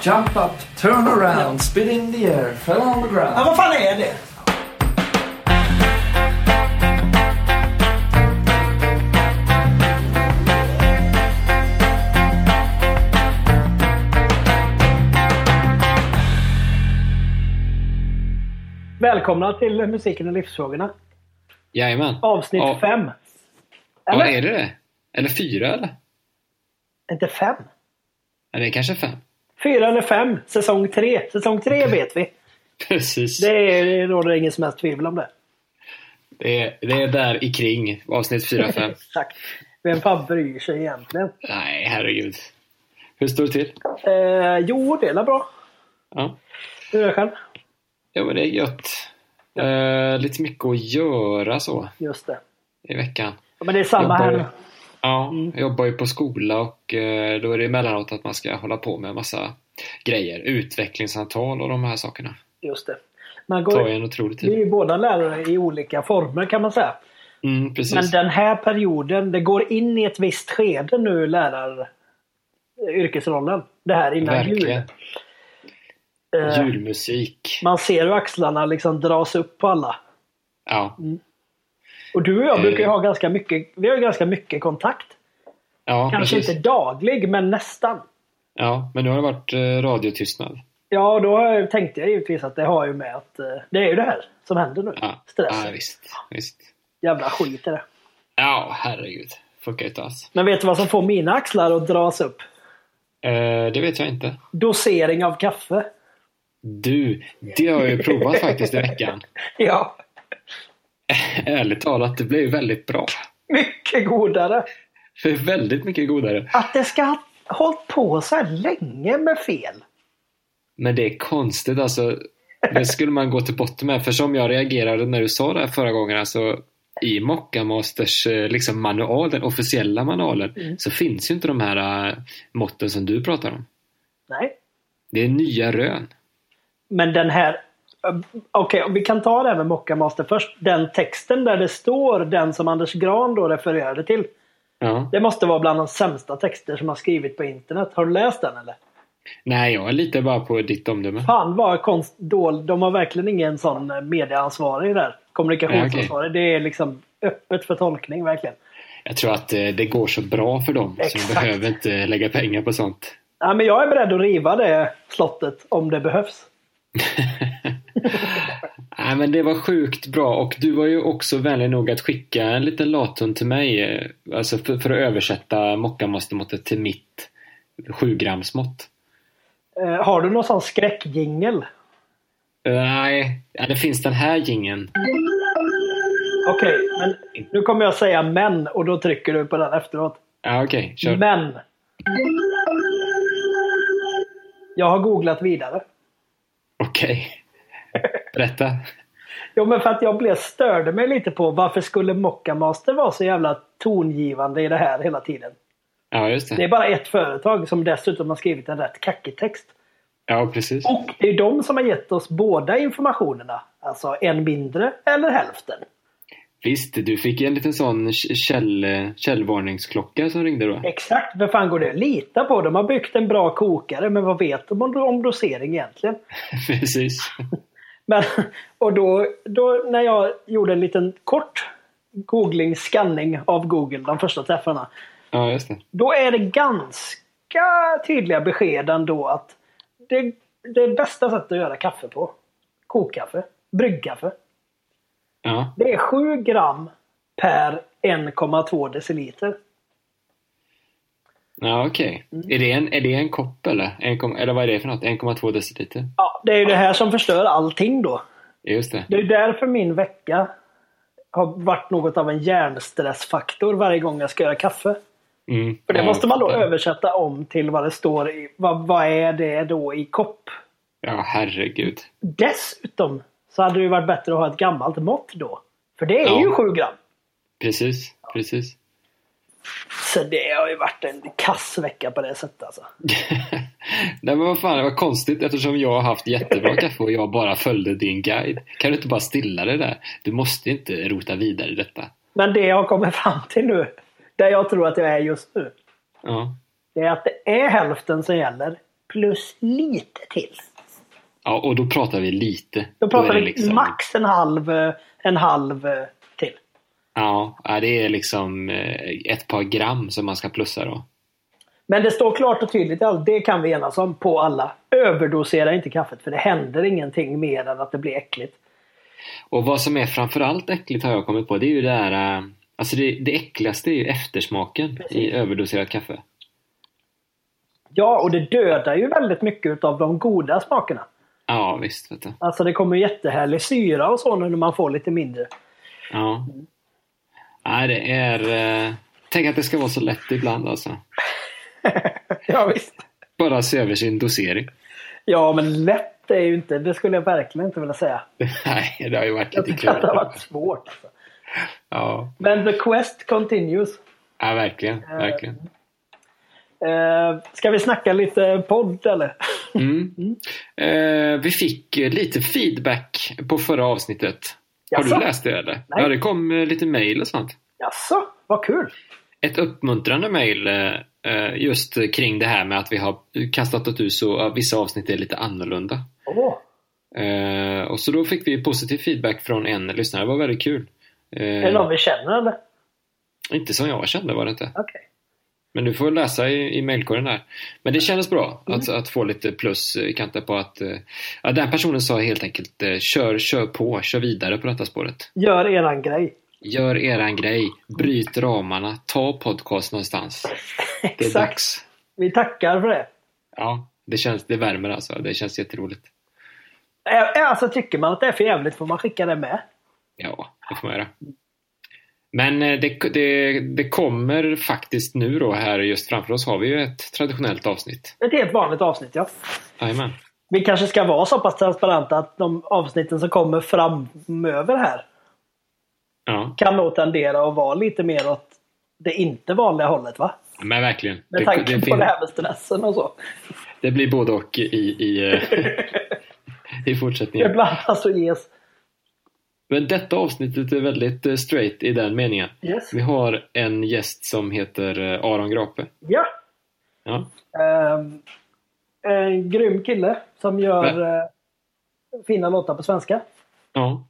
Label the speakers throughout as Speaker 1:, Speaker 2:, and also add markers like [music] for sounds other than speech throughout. Speaker 1: Jump up, turn around, spit in the air, fell on the
Speaker 2: Ja,
Speaker 1: ground.
Speaker 2: vad fan är det?
Speaker 3: Välkomna till Musiken och livsfrågorna.
Speaker 4: Jajamän. Ja.
Speaker 3: Avsnitt 5.
Speaker 4: Ja,
Speaker 3: Eller?
Speaker 4: är det det? Eller fyra eller?
Speaker 3: Inte 5.
Speaker 4: Nej, det är kanske fem. [laughs]
Speaker 3: 4 eller 5. Säsong 3. Säsong 3 vet vi.
Speaker 4: Precis.
Speaker 3: Det
Speaker 4: Det...
Speaker 3: är- det råder ingen som helst tvivel om det.
Speaker 4: är, det är där i kring avsnitt
Speaker 3: [laughs]
Speaker 4: fyra, fem.
Speaker 3: Exakt. Vem fan bryr sig egentligen?
Speaker 4: Nej, herregud. Hur står det till?
Speaker 3: Eh, jo, det är väl bra.
Speaker 4: Ja,
Speaker 3: Hur är det själv?
Speaker 4: ja men det är gött. Eh, lite mycket att göra så
Speaker 3: Just det.
Speaker 4: i veckan.
Speaker 3: Ja, men det är samma här nu.
Speaker 4: Jobbar- Ja,
Speaker 3: Mm.
Speaker 4: jag jobbar ju på skola och eh, då är det emellanåt att man ska hålla på med en massa grejer. Utvecklingssamtal och de här sakerna.
Speaker 3: Just det. Man
Speaker 4: Det tar ju
Speaker 3: går,
Speaker 4: en otrolig
Speaker 3: vi är
Speaker 4: tid.
Speaker 3: ju båda lärare i olika former kan man säga.
Speaker 4: Mm, precis.
Speaker 3: Men den här perioden, det går in i ett visst skede nu lärar yrkesrollen. Det här innan
Speaker 4: Verkligen.
Speaker 3: jul. Eh,
Speaker 4: Julmusik.
Speaker 3: Man ser hur axlarna liksom dras upp på alla.
Speaker 4: Ja.
Speaker 3: Mm. Och du och jag
Speaker 4: Eh.
Speaker 3: brukar ju ha ganska mycket, vi har ju ganska mycket kontakt.
Speaker 4: ja
Speaker 3: Kanske
Speaker 4: precis.
Speaker 3: inte daglig, men nästan.
Speaker 4: Ja, men nu har det varit eh, radiotystnad.
Speaker 3: Ja, och då har jag- tänkte jag givetvis att det har ju med att eh, det är ju det här som händer nu.
Speaker 4: Ja,
Speaker 3: Stressen.
Speaker 4: ja visst, visst.
Speaker 3: Jävla skit är det.
Speaker 4: Ja, herregud. Funkar ju inte alls.
Speaker 3: Men vet du vad som får mina axlar att dras upp?
Speaker 4: Eh, det vet jag inte.
Speaker 3: Dosering av kaffe.
Speaker 4: Du, det har jag ju provat faktiskt i veckan.
Speaker 3: Ja,
Speaker 4: Ärligt talat, det blev ju väldigt bra.
Speaker 3: mycket godare.
Speaker 4: Det är väldigt mycket godare.
Speaker 3: Att det ska ha hållit på så här länge med fel.
Speaker 4: Men det är konstigt alltså. Det skulle man gå till botten med. För som jag reagerade när du sa det här förra gången, alltså i Mocka Masters eh, liksom manual, den officiella manualen, så finns ju inte de här eh, måtten som du pratar om.
Speaker 3: Nej.
Speaker 4: Det är nya rön.
Speaker 3: Men den här... eh, Okej, vi kan ta det här med Mocka Master först. Den texten där det står den som Anders Gran då refererade till.
Speaker 4: Ja.
Speaker 3: Det måste vara bland de sämsta texter som har skrivit på internet. Har du läst den eller?
Speaker 4: Nej, jag litar bara på ditt omdöme.
Speaker 3: Fan vad konst... dål- De har verkligen ingen sån eh, medieansvarig där. Kommunikationsansvarig. Det är liksom öppet för tolkning verkligen.
Speaker 4: Jag tror att eh, det går så bra för dem så de
Speaker 3: Exakt.
Speaker 4: behöver inte lägga pengar på sånt.
Speaker 3: Ja, men jag är beredd att riva det slottet om det behövs.
Speaker 4: Nej men det var sjukt bra och du var ju också vänlig nog att skicka en liten lathund till mig eh, alltså för, för att översätta mockamastermåttet till mitt 7 gramsmått.
Speaker 3: Eh, har du någon sån skräckjingel?
Speaker 4: Eh, Nej, ja, det finns den här gingen.
Speaker 3: Okej, men nu kommer jag säga men och då trycker du på den efteråt.
Speaker 4: Ja, Okej, kör.
Speaker 3: Men. Jag har googlat vidare. [laughs]
Speaker 4: Okej. Berätta.
Speaker 3: Jo men för att jag blev störde mig lite på varför skulle Mockamaster vara så jävla tongivande i det här hela tiden.
Speaker 4: Ja, just
Speaker 3: Det är
Speaker 4: det.
Speaker 3: bara ett företag som dessutom har skrivit en rätt kackig text.
Speaker 4: Ja, precis.
Speaker 3: Och det är de som har gett oss båda informationerna. Alltså en mindre eller hälften.
Speaker 4: Visst, du fick en liten sån k- käll, eh, källvarningsklocka som ringde då.
Speaker 3: Exakt, vad fan går det att lita på? De har byggt en bra kokare men vad vet de om, om dosering egentligen?
Speaker 4: [laughs] Precis.
Speaker 3: Men, [laughs] och då, då när jag gjorde en liten kort googling, scanning av Google, de första träffarna.
Speaker 4: Ja, just det.
Speaker 3: Då är det ganska tydliga besked ändå att det, det bästa sättet att göra kaffe på, kokkaffe, bryggkaffe,
Speaker 4: Ja.
Speaker 3: det är 7 gram per 1,2 deciliter.
Speaker 4: Ja, okej.
Speaker 3: Mm.
Speaker 4: Är, det en- är det en kopp eller? 1, eller vad är det för något? 1,2 deciliter?
Speaker 3: Ja, det är ju det här som förstör allting då.
Speaker 4: Just det.
Speaker 3: Det är därför min vecka har varit något av en hjärnstressfaktor varje gång jag ska göra kaffe.
Speaker 4: Mm.
Speaker 3: För det
Speaker 4: Ja,
Speaker 3: måste man då
Speaker 4: fattar.
Speaker 3: översätta om till vad det står i, vad, vad är det då i kopp?
Speaker 4: Ja, herregud.
Speaker 3: Dessutom så hade det ju varit bättre att ha ett gammalt mått då. För det är
Speaker 4: Ja.
Speaker 3: ju 7 gram.
Speaker 4: Precis, precis.
Speaker 3: Så det har ju varit en kass vecka på det sättet alltså.
Speaker 4: Nej men vad fan, det var konstigt eftersom jag har haft
Speaker 3: [laughs]
Speaker 4: jättebra kaffe och jag bara följde din guide. Kan du inte bara stilla det där? Du måste inte rota vidare i detta.
Speaker 3: Men det jag kommer fram till nu, där jag tror att jag är just nu,
Speaker 4: Ja,
Speaker 3: det är att det är hälften som gäller. plus lite till.
Speaker 4: Ja, och då pratar vi lite.
Speaker 3: Då liksom- pratar
Speaker 4: är det
Speaker 3: vi max en halv, eh, en halv eh, till.
Speaker 4: Ja, ja, det är liksom eh, ett par gram som man ska plussa då.
Speaker 3: Men det står klart och tydligt, i allt, det kan vi enas om på alla. Överdosera inte kaffet för det händer ingenting mer än att det blir äckligt.
Speaker 4: Och vad som är framförallt äckligt har jag kommit på, det är ju det här... eh, Alltså det, det äckligaste är ju eftersmaken i överdoserat kaffe.
Speaker 3: Ja, och det dödar ju väldigt mycket utav de goda smakerna.
Speaker 4: Ja, visst. Vet du.
Speaker 3: Alltså det kommer jättehärlig syra och så nu när man får lite mindre.
Speaker 4: Ja. Nej, det är... eh, Tänk att det ska vara så lätt ibland alltså.
Speaker 3: [laughs] ja, visst.
Speaker 4: Bara se över sin dosering. [laughs]
Speaker 3: Ja, men lätt är ju inte, det skulle jag verkligen inte vilja säga.
Speaker 4: Nej, det har ju varit
Speaker 3: Jag
Speaker 4: lite
Speaker 3: tycker att det har
Speaker 4: klurigt.
Speaker 3: varit svårt. Alltså.
Speaker 4: Ja.
Speaker 3: Men the quest continues.
Speaker 4: ja, verkligen. verkligen.
Speaker 3: Eh, ska vi snacka lite podd eller?
Speaker 4: Mm. Eh, vi fick eh, lite feedback på förra avsnittet. Har
Speaker 3: Jaså?
Speaker 4: du läst det eller?
Speaker 3: Nej.
Speaker 4: Ja, det kom eh, lite mejl och sånt.
Speaker 3: Jaså, vad kul!
Speaker 4: Ett uppmuntrande mejl eh, eh, just eh, kring det här med att vi har kastat åt ut så att vissa avsnitt är lite annorlunda.
Speaker 3: Åh,
Speaker 4: Eh, och så då fick vi positiv feedback från en lyssnare. Det var väldigt kul. Eh,
Speaker 3: är det någon vi känner eller?
Speaker 4: Inte som jag kände var det inte.
Speaker 3: Okej.
Speaker 4: Men du får läsa i, i mejlkorgen där. Men det kändes bra att, att få lite plus i kanten på att eh, ja, den personen sa helt enkelt eh, kör, kör på, kör vidare på detta spåret.
Speaker 3: Gör eran grej.
Speaker 4: Gör eran grej, bryt ramarna, ta podcast någonstans. Det är
Speaker 3: Exakt.
Speaker 4: dags.
Speaker 3: Vi tackar för det.
Speaker 4: Ja, det känns, det värmer alltså. Det känns jätteroligt.
Speaker 3: Ä- Alltså tycker man att det är för jävligt får man skicka det med.
Speaker 4: Ja, det får man göra. Men eh, det, det, det kommer faktiskt nu då här just framför oss har vi ju ett traditionellt avsnitt.
Speaker 3: Ett helt vanligt avsnitt ja.
Speaker 4: Jajamän.
Speaker 3: Vi kanske ska vara så pass transparenta att de avsnitten som kommer framöver här
Speaker 4: Ja,
Speaker 3: kan nog tendera att vara lite mer åt det inte vanliga hållet va?
Speaker 4: men verkligen.
Speaker 3: Med tanke på
Speaker 4: fin-
Speaker 3: det här med stressen och så.
Speaker 4: Det blir både och i, i, eh, [laughs] i fortsättningen.
Speaker 3: Ibland alltså ges.
Speaker 4: Men detta avsnittet är väldigt eh, straight i den meningen.
Speaker 3: Yes.
Speaker 4: Vi har en gäst som heter eh, Aron Grape.
Speaker 3: Ja.
Speaker 4: Ja,
Speaker 3: Ehm, en grym kille som gör eh, fina låtar på svenska.
Speaker 4: ja.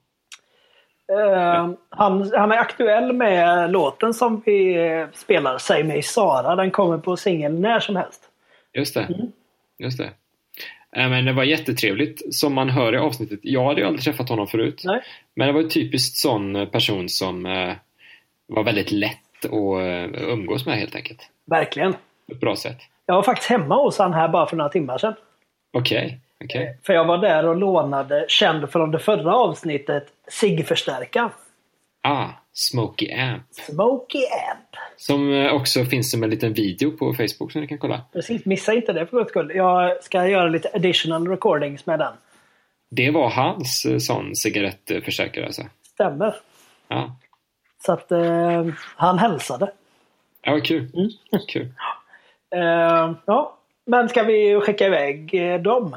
Speaker 3: Ehm, han, han är aktuell med låten som vi eh, spelar, Säg mig Sara. Den kommer på singel när som helst.
Speaker 4: just det. Just det. Eh, Men det var jättetrevligt, som man hör i avsnittet. Jag hade ju aldrig träffat honom förut.
Speaker 3: Nej?
Speaker 4: Men det var ju typiskt sån eh, person som eh, var väldigt lätt att eh, umgås med helt enkelt.
Speaker 3: Verkligen.
Speaker 4: På ett bra sätt.
Speaker 3: Jag var faktiskt hemma hos han här bara för några timmar sedan.
Speaker 4: Okej, okej.
Speaker 3: För jag var där och lånade, känd från det förra avsnittet, SIG-förstärkaren.
Speaker 4: Ah, Smokey Amp.
Speaker 3: Smokey Amp.
Speaker 4: Som eh, också finns som en liten video på Facebook som ni kan kolla.
Speaker 3: Precis, missa inte det för guds skull. Jag ska göra lite additional recordings med den.
Speaker 4: Det var hans eh, sån cigarettförsäkrare alltså.
Speaker 3: Stämmer.
Speaker 4: Ja,
Speaker 3: Så att eh, han hälsade.
Speaker 4: ja vad kul. kul.
Speaker 3: Eh, ja. Men ska vi skicka iväg eh, dem?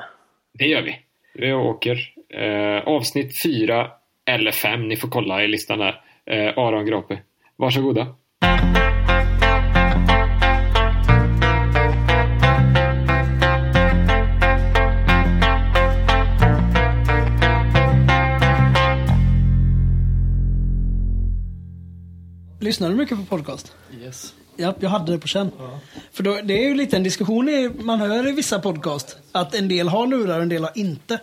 Speaker 4: Det gör vi. Vi åker. Eh, avsnitt 4 eller 5, ni får kolla i listan där. Eh, Aron Grape. Varsågoda.
Speaker 3: Lyssnar du mycket på podcast?
Speaker 1: Yes.
Speaker 3: Ja, jag hade det på känn. För då, det är ju lite en diskussion i, man hör i vissa podcast. Att en del har lurar och en del har inte.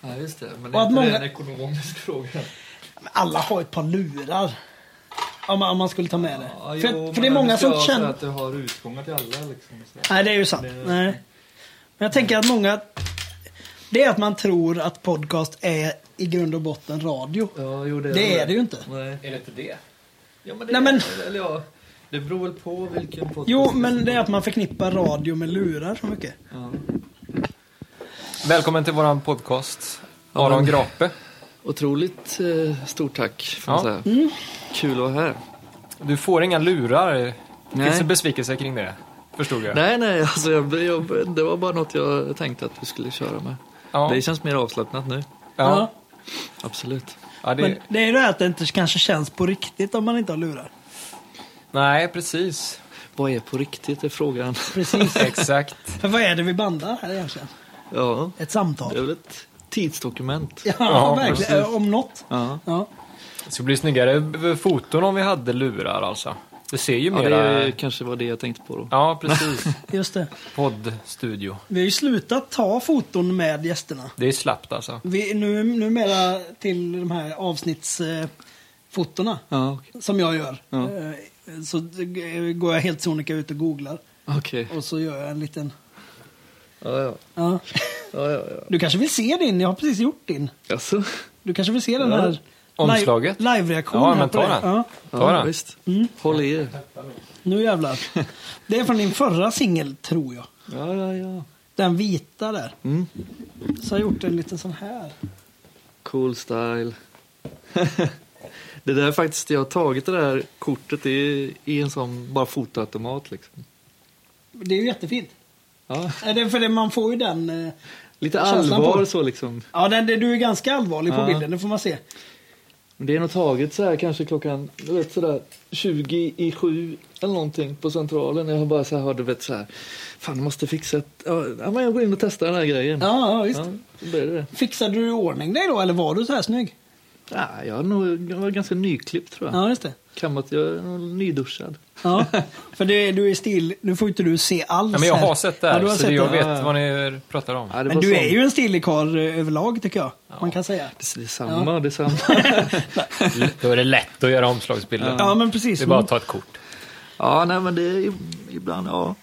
Speaker 1: Ja, just det. Men
Speaker 3: Och
Speaker 1: är
Speaker 3: att
Speaker 1: inte
Speaker 3: många-
Speaker 1: det en ekonomisk fråga?
Speaker 3: Men alla har ett par lurar. Om man, om man skulle ta med det.
Speaker 1: Ja,
Speaker 3: för,
Speaker 1: jo,
Speaker 3: för det är
Speaker 1: men
Speaker 3: många
Speaker 1: du ska
Speaker 3: som
Speaker 1: ha så
Speaker 3: känner...
Speaker 1: att du har utgångar till alla liksom. Så.
Speaker 3: Nej, det är ju sant. Nej. Men jag tänker att många... Det är att man tror att podcast är i grund och botten radio.
Speaker 1: Ja, jo, det,
Speaker 3: Det är det ju inte.
Speaker 1: Nej.
Speaker 2: Är det inte det?
Speaker 1: Ja, men det,
Speaker 3: Nej, men-
Speaker 1: Eller, ja, det beror väl på vilken podcast.
Speaker 3: Jo, men det är att man förknippar radio med lurar så mycket.
Speaker 1: Ja.
Speaker 2: Välkommen till våran podcast. Aron Grape.
Speaker 5: Otroligt eh, stort tack. Får man
Speaker 2: Ja.
Speaker 5: säga.
Speaker 3: Mm.
Speaker 5: Kul att vara här.
Speaker 2: Du får inga lurar. Nej. Finns
Speaker 5: Nej.
Speaker 2: det besvikelse kring det? Förstod jag.
Speaker 5: Nej, nej, alltså, jag, jag, det var bara något jag tänkte att vi skulle köra med.
Speaker 2: Ja.
Speaker 5: Det känns mer avslappnat nu.
Speaker 2: Ja.
Speaker 5: Absolut.
Speaker 2: Ja, det...
Speaker 3: Men det är ju det här att det inte kanske känns på riktigt om man inte har lurar.
Speaker 2: Nej, precis.
Speaker 5: Vad är på riktigt är frågan. [laughs]
Speaker 3: Precis.
Speaker 2: Exakt.
Speaker 3: Men vad är det vi bandar här egentligen?
Speaker 5: Ja,
Speaker 3: Ett
Speaker 5: det är
Speaker 3: samtal?
Speaker 5: väl ett tidsdokument.
Speaker 3: Ja,
Speaker 2: Ja,
Speaker 3: verkligen. Eh,
Speaker 2: precis.
Speaker 3: Om något.
Speaker 5: Ja.
Speaker 3: Ja.
Speaker 2: Det skulle bli snyggare b- foton om vi hade lurar alltså. Det ser ju
Speaker 5: Ja,
Speaker 2: mera...
Speaker 5: det är, kanske var det jag tänkte på då.
Speaker 2: Ja, precis.
Speaker 3: Just det.
Speaker 2: Poddstudio.
Speaker 3: Vi har ju slutat ta foton med gästerna.
Speaker 2: Det är slappt alltså.
Speaker 3: Vi, nu, numera till de här avsnittsfotona eh, fotona
Speaker 5: Ja, okej.
Speaker 3: som jag gör.
Speaker 5: Ja.
Speaker 3: Eh, så eh, går jag helt sonika ut och googlar.
Speaker 5: Okej.
Speaker 3: Och så gör jag en liten...
Speaker 5: Ja, ja.
Speaker 3: Ja.
Speaker 5: ja, ja, ja.
Speaker 3: Du kanske vill se din? Jag har precis gjort din.
Speaker 5: Jaså?
Speaker 3: Du kanske vill se den här... live-
Speaker 2: Omslaget.
Speaker 3: Live-reaktionen.
Speaker 2: Ja,
Speaker 3: här
Speaker 2: men
Speaker 3: på
Speaker 2: ta
Speaker 3: det.
Speaker 2: den.
Speaker 3: Ja,
Speaker 2: Ta
Speaker 5: Ja,
Speaker 2: den.
Speaker 5: visst.
Speaker 3: Mm.
Speaker 5: Håll i er.
Speaker 3: nu jävlar. Det är från din förra singel, tror jag.
Speaker 5: Ja, ja, ja.
Speaker 3: Den vita där.
Speaker 5: Mm.
Speaker 3: Så har jag gjort en liten sån här.
Speaker 5: Cool style. [laughs] det där är faktiskt, jag har tagit det där kortet i, i en sån bara fotoautomat liksom.
Speaker 3: Det är ju jättefint.
Speaker 5: Ja,
Speaker 3: Är det för det, man får ju den... eh,
Speaker 5: lite
Speaker 3: Känslan på
Speaker 5: allvar
Speaker 3: det.
Speaker 5: så liksom.
Speaker 3: Ja, den, det- du är ganska allvarlig på
Speaker 5: Ja.
Speaker 3: bilden, det får man se.
Speaker 5: Men Det är nog taget så här kanske klockan, du vet sådär 20 i sju eller någonting på centralen. Jag har bara så här, hörde, vet så här, fan jag måste fixa ett, ja ja, men jag går in och testar den här grejen.
Speaker 3: Ja, ja visst.
Speaker 5: ja då blir det det.
Speaker 3: Fixade du i ordning dig då, eller var du så här snygg?
Speaker 5: Ja, jag, är nog, jag var ganska nyklippt tror jag.
Speaker 3: Ja, just det.
Speaker 5: Kammat, jag är nog nyduschad.
Speaker 2: [laughs]
Speaker 3: Ja, för det, du är still... Nu får inte du se alls
Speaker 2: Ja, men jag
Speaker 3: här.
Speaker 2: har sett det här,
Speaker 3: Ja, du har
Speaker 2: så
Speaker 3: sett
Speaker 2: det, jag
Speaker 3: det.
Speaker 2: vet
Speaker 5: Ja, ja.
Speaker 2: vad ni pratar om.
Speaker 5: Ja, det
Speaker 3: Men
Speaker 5: var
Speaker 3: du
Speaker 5: sån-
Speaker 3: är ju en stilig karl eh, överlag, tycker jag. Man kan säga.
Speaker 5: Det är samma, det är
Speaker 3: [laughs]
Speaker 5: samma.
Speaker 2: Då är det lätt att göra omslagsbilder.
Speaker 3: Ja, men precis. Mm.
Speaker 2: Det är bara att ta ett kort.
Speaker 5: ja, nej men det är ju- ibland, ja.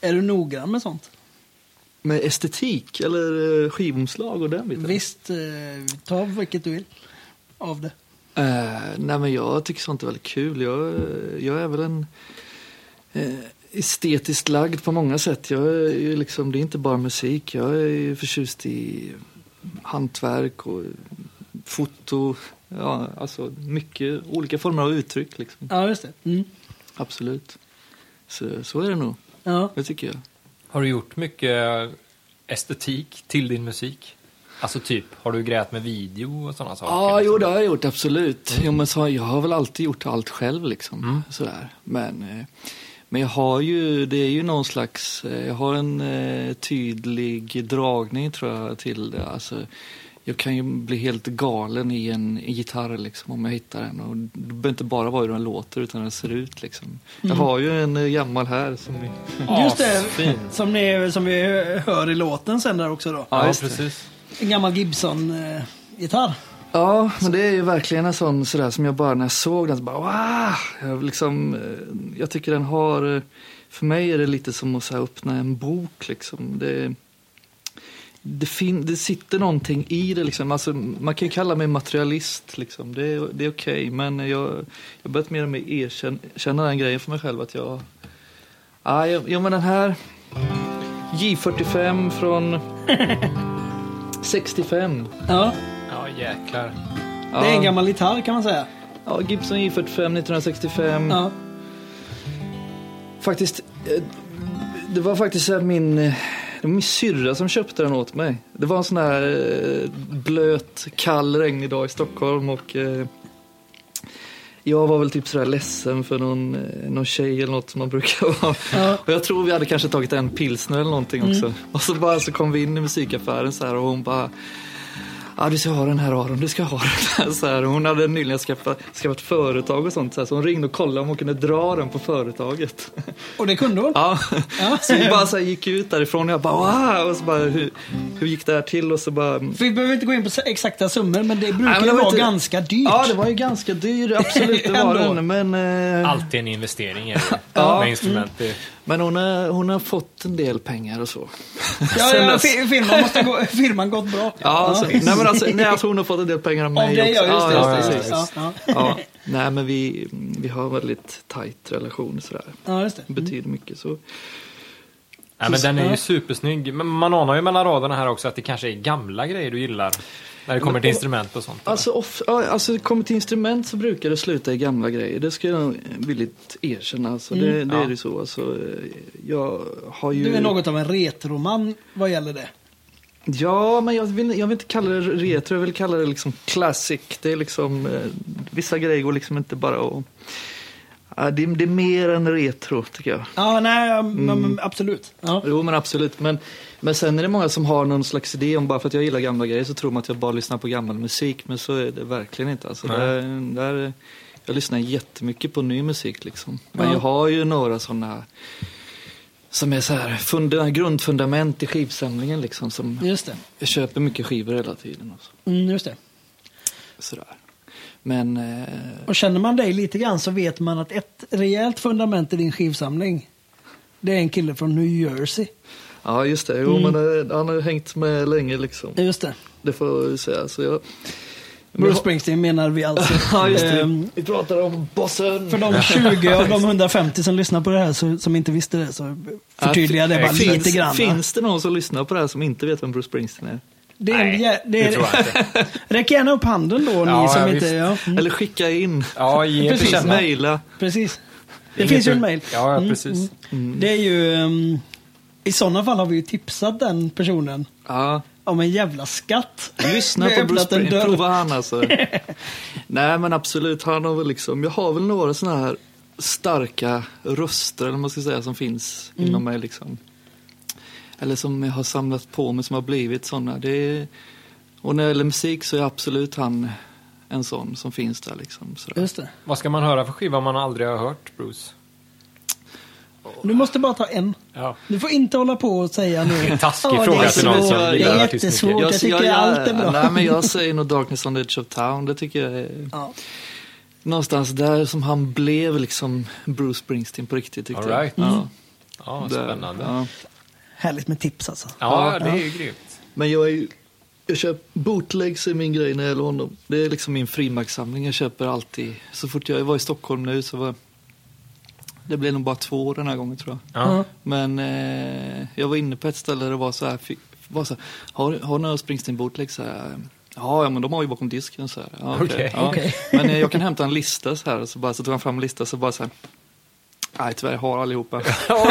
Speaker 3: Är du noggrann med sånt?
Speaker 5: Med estetik eller eh, skivomslag och den biten.
Speaker 3: Visst, eh, ta vilket du vill av det.
Speaker 5: Eh, nej men jag tycker sånt är väldigt kul. Jag, jag är väl en eh, estetiskt lagd på många sätt. Jag är ju liksom, det är inte bara musik. Jag är ju förtjust i hantverk och foto. Ja, alltså mycket olika former av uttryck liksom.
Speaker 3: Ja, just det. Mm.
Speaker 5: Absolut. Så, så är det nog.
Speaker 3: Ja.
Speaker 5: Det tycker jag.
Speaker 2: Har du gjort mycket estetik till din musik? Alltså typ, har du grejat med video och sådana saker?
Speaker 5: Ja,
Speaker 2: liksom?
Speaker 5: jo, det har jag gjort absolut. Jo, men så, har- jag har väl alltid gjort allt själv liksom. Sådär. Men, eh, men jag har ju, det är ju någon slags, eh, jag har en eh, tydlig dragning tror jag till det. Alltså, jag kan ju bli helt galen i en i gitarr liksom om jag hittar den. Och det behöver inte bara vara hur den låter utan hur den ser ut liksom. Jag har ju en eh, gammal här som...
Speaker 3: Just det,
Speaker 2: Asfin.
Speaker 3: som, ni, som vi hör i låten sen där också då.
Speaker 2: Ja,
Speaker 5: just det.
Speaker 2: precis.
Speaker 3: En gammal Gibson-gitarr.
Speaker 5: Ja, men det är ju verkligen en sån sådär som jag bara när jag såg den så bara wow! Jag, liksom, eh, jag tycker den har, eh, för mig är det lite som att så här, öppna en bok liksom. Det, det, fin- det sitter någonting i det liksom. Alltså, man kan ju kalla mig materialist liksom. Det, är- det är okej, men jag jag har börjat mer och mer erkänna den grejen för mig själv att jag, ah, jag, ja men den här J45
Speaker 3: [laughs]
Speaker 5: från 65.
Speaker 3: Ja,
Speaker 2: Ja, jäklar.
Speaker 3: det är en gammal gitarr kan man säga.
Speaker 5: Ja, Gibson E J45 1965.
Speaker 3: Ja.
Speaker 5: Faktiskt, eh, det var faktiskt så här min, eh, det var min syrra som köpte den åt mig. Det var en sån här eh, blöt, kall, regnig dag i Stockholm och eh, jag var väl typ sådär ledsen för någon, eh, någon tjej eller något som man brukar [laughs] vara.
Speaker 3: Ja.
Speaker 5: Och jag tror vi hade kanske tagit en pilsner eller någonting också. Och så bara så kom vi in i musikaffären så här och hon bara Ja, du ska ha den här Aron, du ska ha den här. [laughs] Så här. Hon hade nyligen skaffat, skaffat företag och sånt. Så, här, så hon ringde och kollade om hon kunde dra den på företaget. [laughs]
Speaker 3: Och det kunde hon.
Speaker 5: Ja.
Speaker 3: Ja.
Speaker 5: [laughs] Så vi bara så här, gick ut därifrån och jag bara wow! Och så bara, hur, hur gick det här till? Och så bara...
Speaker 3: För Vi behöver inte gå in på exakta summor, men det brukar
Speaker 5: Nej, men
Speaker 3: ju
Speaker 5: det var
Speaker 3: vara
Speaker 5: inte-
Speaker 3: ganska dyrt.
Speaker 5: Ja, det var ju ganska
Speaker 3: [laughs]
Speaker 5: dyr, absolut det var
Speaker 3: Ändå.
Speaker 5: den. Men, eh,
Speaker 2: Alltid en investering är det,
Speaker 5: Ja.
Speaker 2: med instrument. Det-
Speaker 5: men hon, har, hon har fått en del pengar och så.
Speaker 3: ja,
Speaker 5: Sen
Speaker 3: ja,
Speaker 5: dess.
Speaker 3: fi- firman måste gå, [laughs] firman gått bra.
Speaker 5: Ja, så, nej men alltså, nej, alltså hon har fått en del pengar av mig
Speaker 3: Av dig, ja,
Speaker 5: också.
Speaker 3: just det.
Speaker 5: ja,
Speaker 3: just det,
Speaker 5: ja,
Speaker 3: just det.
Speaker 5: precis.
Speaker 3: Ja, ja.
Speaker 5: Ja, nej men vi, vi har en väldigt tajt relation sådär.
Speaker 3: ja, just det.
Speaker 5: Det betyder mycket så.
Speaker 2: Ja, men den är
Speaker 3: Ja.
Speaker 2: ju supersnygg. Men man anar ju mellan raderna här också att det kanske är gamla grejer du gillar. När det kommer till instrument och sånt.
Speaker 5: Alltså, of, ja, alltså kommer till instrument så brukar det sluta i gamla grejer. Det ska jag nog villigt erkänna. Alltså, det, det
Speaker 2: Ja.
Speaker 5: är ju så. Alltså, eh, jag har ju...
Speaker 3: Mm. Du är något av en retroman vad gäller det.
Speaker 5: Ja, men jag vill, jag vill inte kalla det retro. Jag vill kalla det liksom classic. Det är liksom... eh, Vissa grejer går liksom inte bara att... Ja, det, det är mer än retro tycker jag.
Speaker 6: Ja, nej, mm. absolut. Ja.
Speaker 5: Jo men absolut. Men, men sen är det många som har någon slags idé om bara för att jag gillar gamla grejer så tror man att jag bara lyssnar på gammal musik. Men så är det verkligen inte. Alltså,
Speaker 2: Nej.
Speaker 5: där, där, jag lyssnar jättemycket på ny musik liksom. Men
Speaker 6: Ja.
Speaker 5: jag har ju några sådana som är så här funda, grundfundament i skivsamlingen liksom. Som
Speaker 6: Just det.
Speaker 5: jag köper mycket skivor hela tiden och så,
Speaker 6: Mm, just det.
Speaker 5: sådär. Men eh,
Speaker 6: Och känner man dig lite grann så vet man att ett rejält fundament i din skivsamling, det är en kille från New Jersey.
Speaker 5: ja just det, jo, men, eh, han har ju hängt med länge liksom.
Speaker 6: Just det.
Speaker 5: Det får jag ju säga. Så jag,
Speaker 6: Bruce Springsteen menar vi alltså.
Speaker 5: [laughs] Ja, just det.
Speaker 6: Ehm,
Speaker 5: Vi pratar om bossen.
Speaker 6: För de 20 av de 150 som lyssnar på det här så, som inte visste det så förtydliga det bara
Speaker 5: finns,
Speaker 6: lite grann.
Speaker 5: Finns det någon som lyssnar på det här som inte vet vem Bruce Springsteen är?
Speaker 6: Det, är, en jä- det,
Speaker 2: det tror
Speaker 6: är,
Speaker 2: jag inte.
Speaker 6: [laughs] räck gärna upp handen då
Speaker 2: Ja,
Speaker 6: ni som
Speaker 2: ja,
Speaker 6: inte...
Speaker 2: visst.
Speaker 6: Ja, mm,
Speaker 5: Eller skicka in.
Speaker 2: Ja, ge till
Speaker 6: Precis,
Speaker 2: känna.
Speaker 5: Mejla.
Speaker 6: precis. Det finns ju en mail.
Speaker 2: Ja, ja,
Speaker 6: Mm,
Speaker 2: precis.
Speaker 6: mm. Det är ju... ehm, I sådana fall har vi ju tipsat den personen
Speaker 5: Ja.
Speaker 6: om en jävla skatt.
Speaker 5: Lyssna
Speaker 6: Vi har
Speaker 5: på Bruce
Speaker 6: öppnat en
Speaker 5: Springsteen.
Speaker 6: dörr.
Speaker 5: Prova han
Speaker 6: [laughs]
Speaker 5: alltså. Nej men absolut, han har väl liksom, jag har väl några sådana här starka röster eller vad man ska säga som finns
Speaker 6: Mm.
Speaker 5: inom mig liksom. Eller som jag har samlat på mig som har blivit sådana. Det är, och när det gäller musik så är absolut han en sån som finns där liksom. Sådär.
Speaker 6: Just det.
Speaker 2: Vad ska man höra för skiva om man aldrig har hört Bruce?
Speaker 6: Du måste bara ta en.
Speaker 2: Ja.
Speaker 6: Du får inte hålla på och säga nu.
Speaker 2: Taskig
Speaker 6: "Ja, det är
Speaker 2: fråga till någon som
Speaker 6: svårt, Det
Speaker 2: gillar
Speaker 6: är
Speaker 2: artist mycket."
Speaker 6: jättesvårt. Jag tycker allt är bra.
Speaker 5: Nej men jag säger nog Darkness on the Edge of Town. Det tycker jag är
Speaker 6: Ja.
Speaker 5: någonstans där som han blev liksom Bruce Springsteen på riktigt tyckte
Speaker 2: All
Speaker 5: jag.
Speaker 2: right.
Speaker 5: Ja,
Speaker 2: Mm. Ja,
Speaker 5: där.
Speaker 2: spännande. Ja,
Speaker 5: Ja.
Speaker 6: Härligt med tips alltså.
Speaker 2: det är ju grymt.
Speaker 5: Men jag är ju, jag köper, bootlegs är min grej när det gäller honom. Det är liksom min frimärkssamling, jag köper alltid. Så fort jag var i Stockholm nu så var, det blev nog bara två den här gången tror jag.
Speaker 2: Ja.
Speaker 5: Men eh, jag var inne på ett ställe där det var så här, fick, var så här har, har ni några Springsteen bootlegs? Så här, Ja, ja, men de har ju bakom disken så här. Ja, okej,
Speaker 2: Okej.
Speaker 5: ja.
Speaker 6: Okej.
Speaker 5: Men eh, jag kan hämta en lista så här, så, bara, så tog han fram en lista så bara så här. Nej, tyvärr, jag har
Speaker 6: [laughs]
Speaker 5: allihopa.
Speaker 6: oh,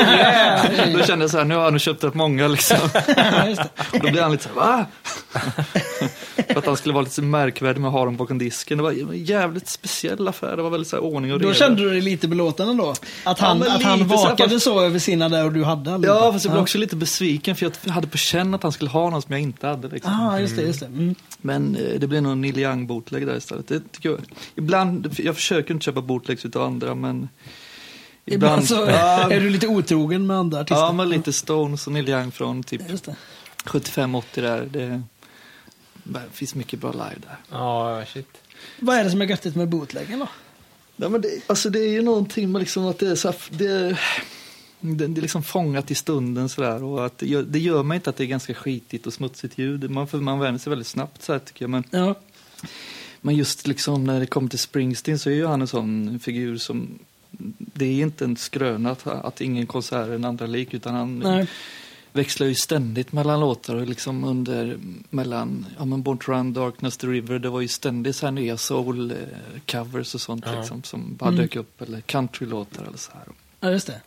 Speaker 5: Då kände jag så här, nu har jag nog köpt rätt många liksom.
Speaker 6: Just det.
Speaker 5: Och Då blev han lite så här,
Speaker 6: [laughs]
Speaker 5: va? För att han skulle vara lite så märkvärdig med att ha dem bakom disken. Det var en jävligt speciell affär. Det var väldigt så här ordning och reda.
Speaker 6: Då kände du dig lite belåten ändå? Att han,
Speaker 5: men
Speaker 6: att han
Speaker 5: lite så här,
Speaker 6: vakade så,
Speaker 5: fast-
Speaker 6: över sina där och du hade allihopa?
Speaker 5: Ja, fast jag blev också lite besviken för jag hade på känn att han skulle ha någon som jag inte hade. Liksom.
Speaker 6: Ah, just det, just det. Mm.
Speaker 5: Men eh, det blev nog en Neil Young bootleg där istället. Det tycker jag. Ibland, jag försöker inte köpa bootlegs utav andra men
Speaker 6: Ibland så
Speaker 5: ja,
Speaker 6: [laughs] är du lite otrogen med andra artister.
Speaker 5: ja, men lite Stones och Neil Young från typ
Speaker 6: Just det.
Speaker 5: 75-80 där. Det, det finns mycket bra live där.
Speaker 2: Ja, shit.
Speaker 6: Vad är det som är göttigt med bootleggen då?
Speaker 5: Nej, men det, alltså det är ju någonting med liksom att det är så här, det, det, det är liksom fångat i stunden sådär och att det gör, det gör mig inte att det är ganska skitigt och smutsigt ljud. Man, för man vänjer sig väldigt snabbt så här tycker jag. Men,
Speaker 6: Ja.
Speaker 5: men just liksom när det kommer till Springsteen så är ju han en sån figur som det är inte en skröna att, att ingen konsert är en andra lik utan han
Speaker 6: Nej.
Speaker 5: växlar ju ständigt mellan låtar och liksom under mellan ja, men Born to Run, Darkness, The River. Det var ju ständigt så här nya soul eh, covers och sånt
Speaker 2: Ja.
Speaker 5: liksom, som bara dök upp eller countrylåtar eller så här.
Speaker 6: ja, just det.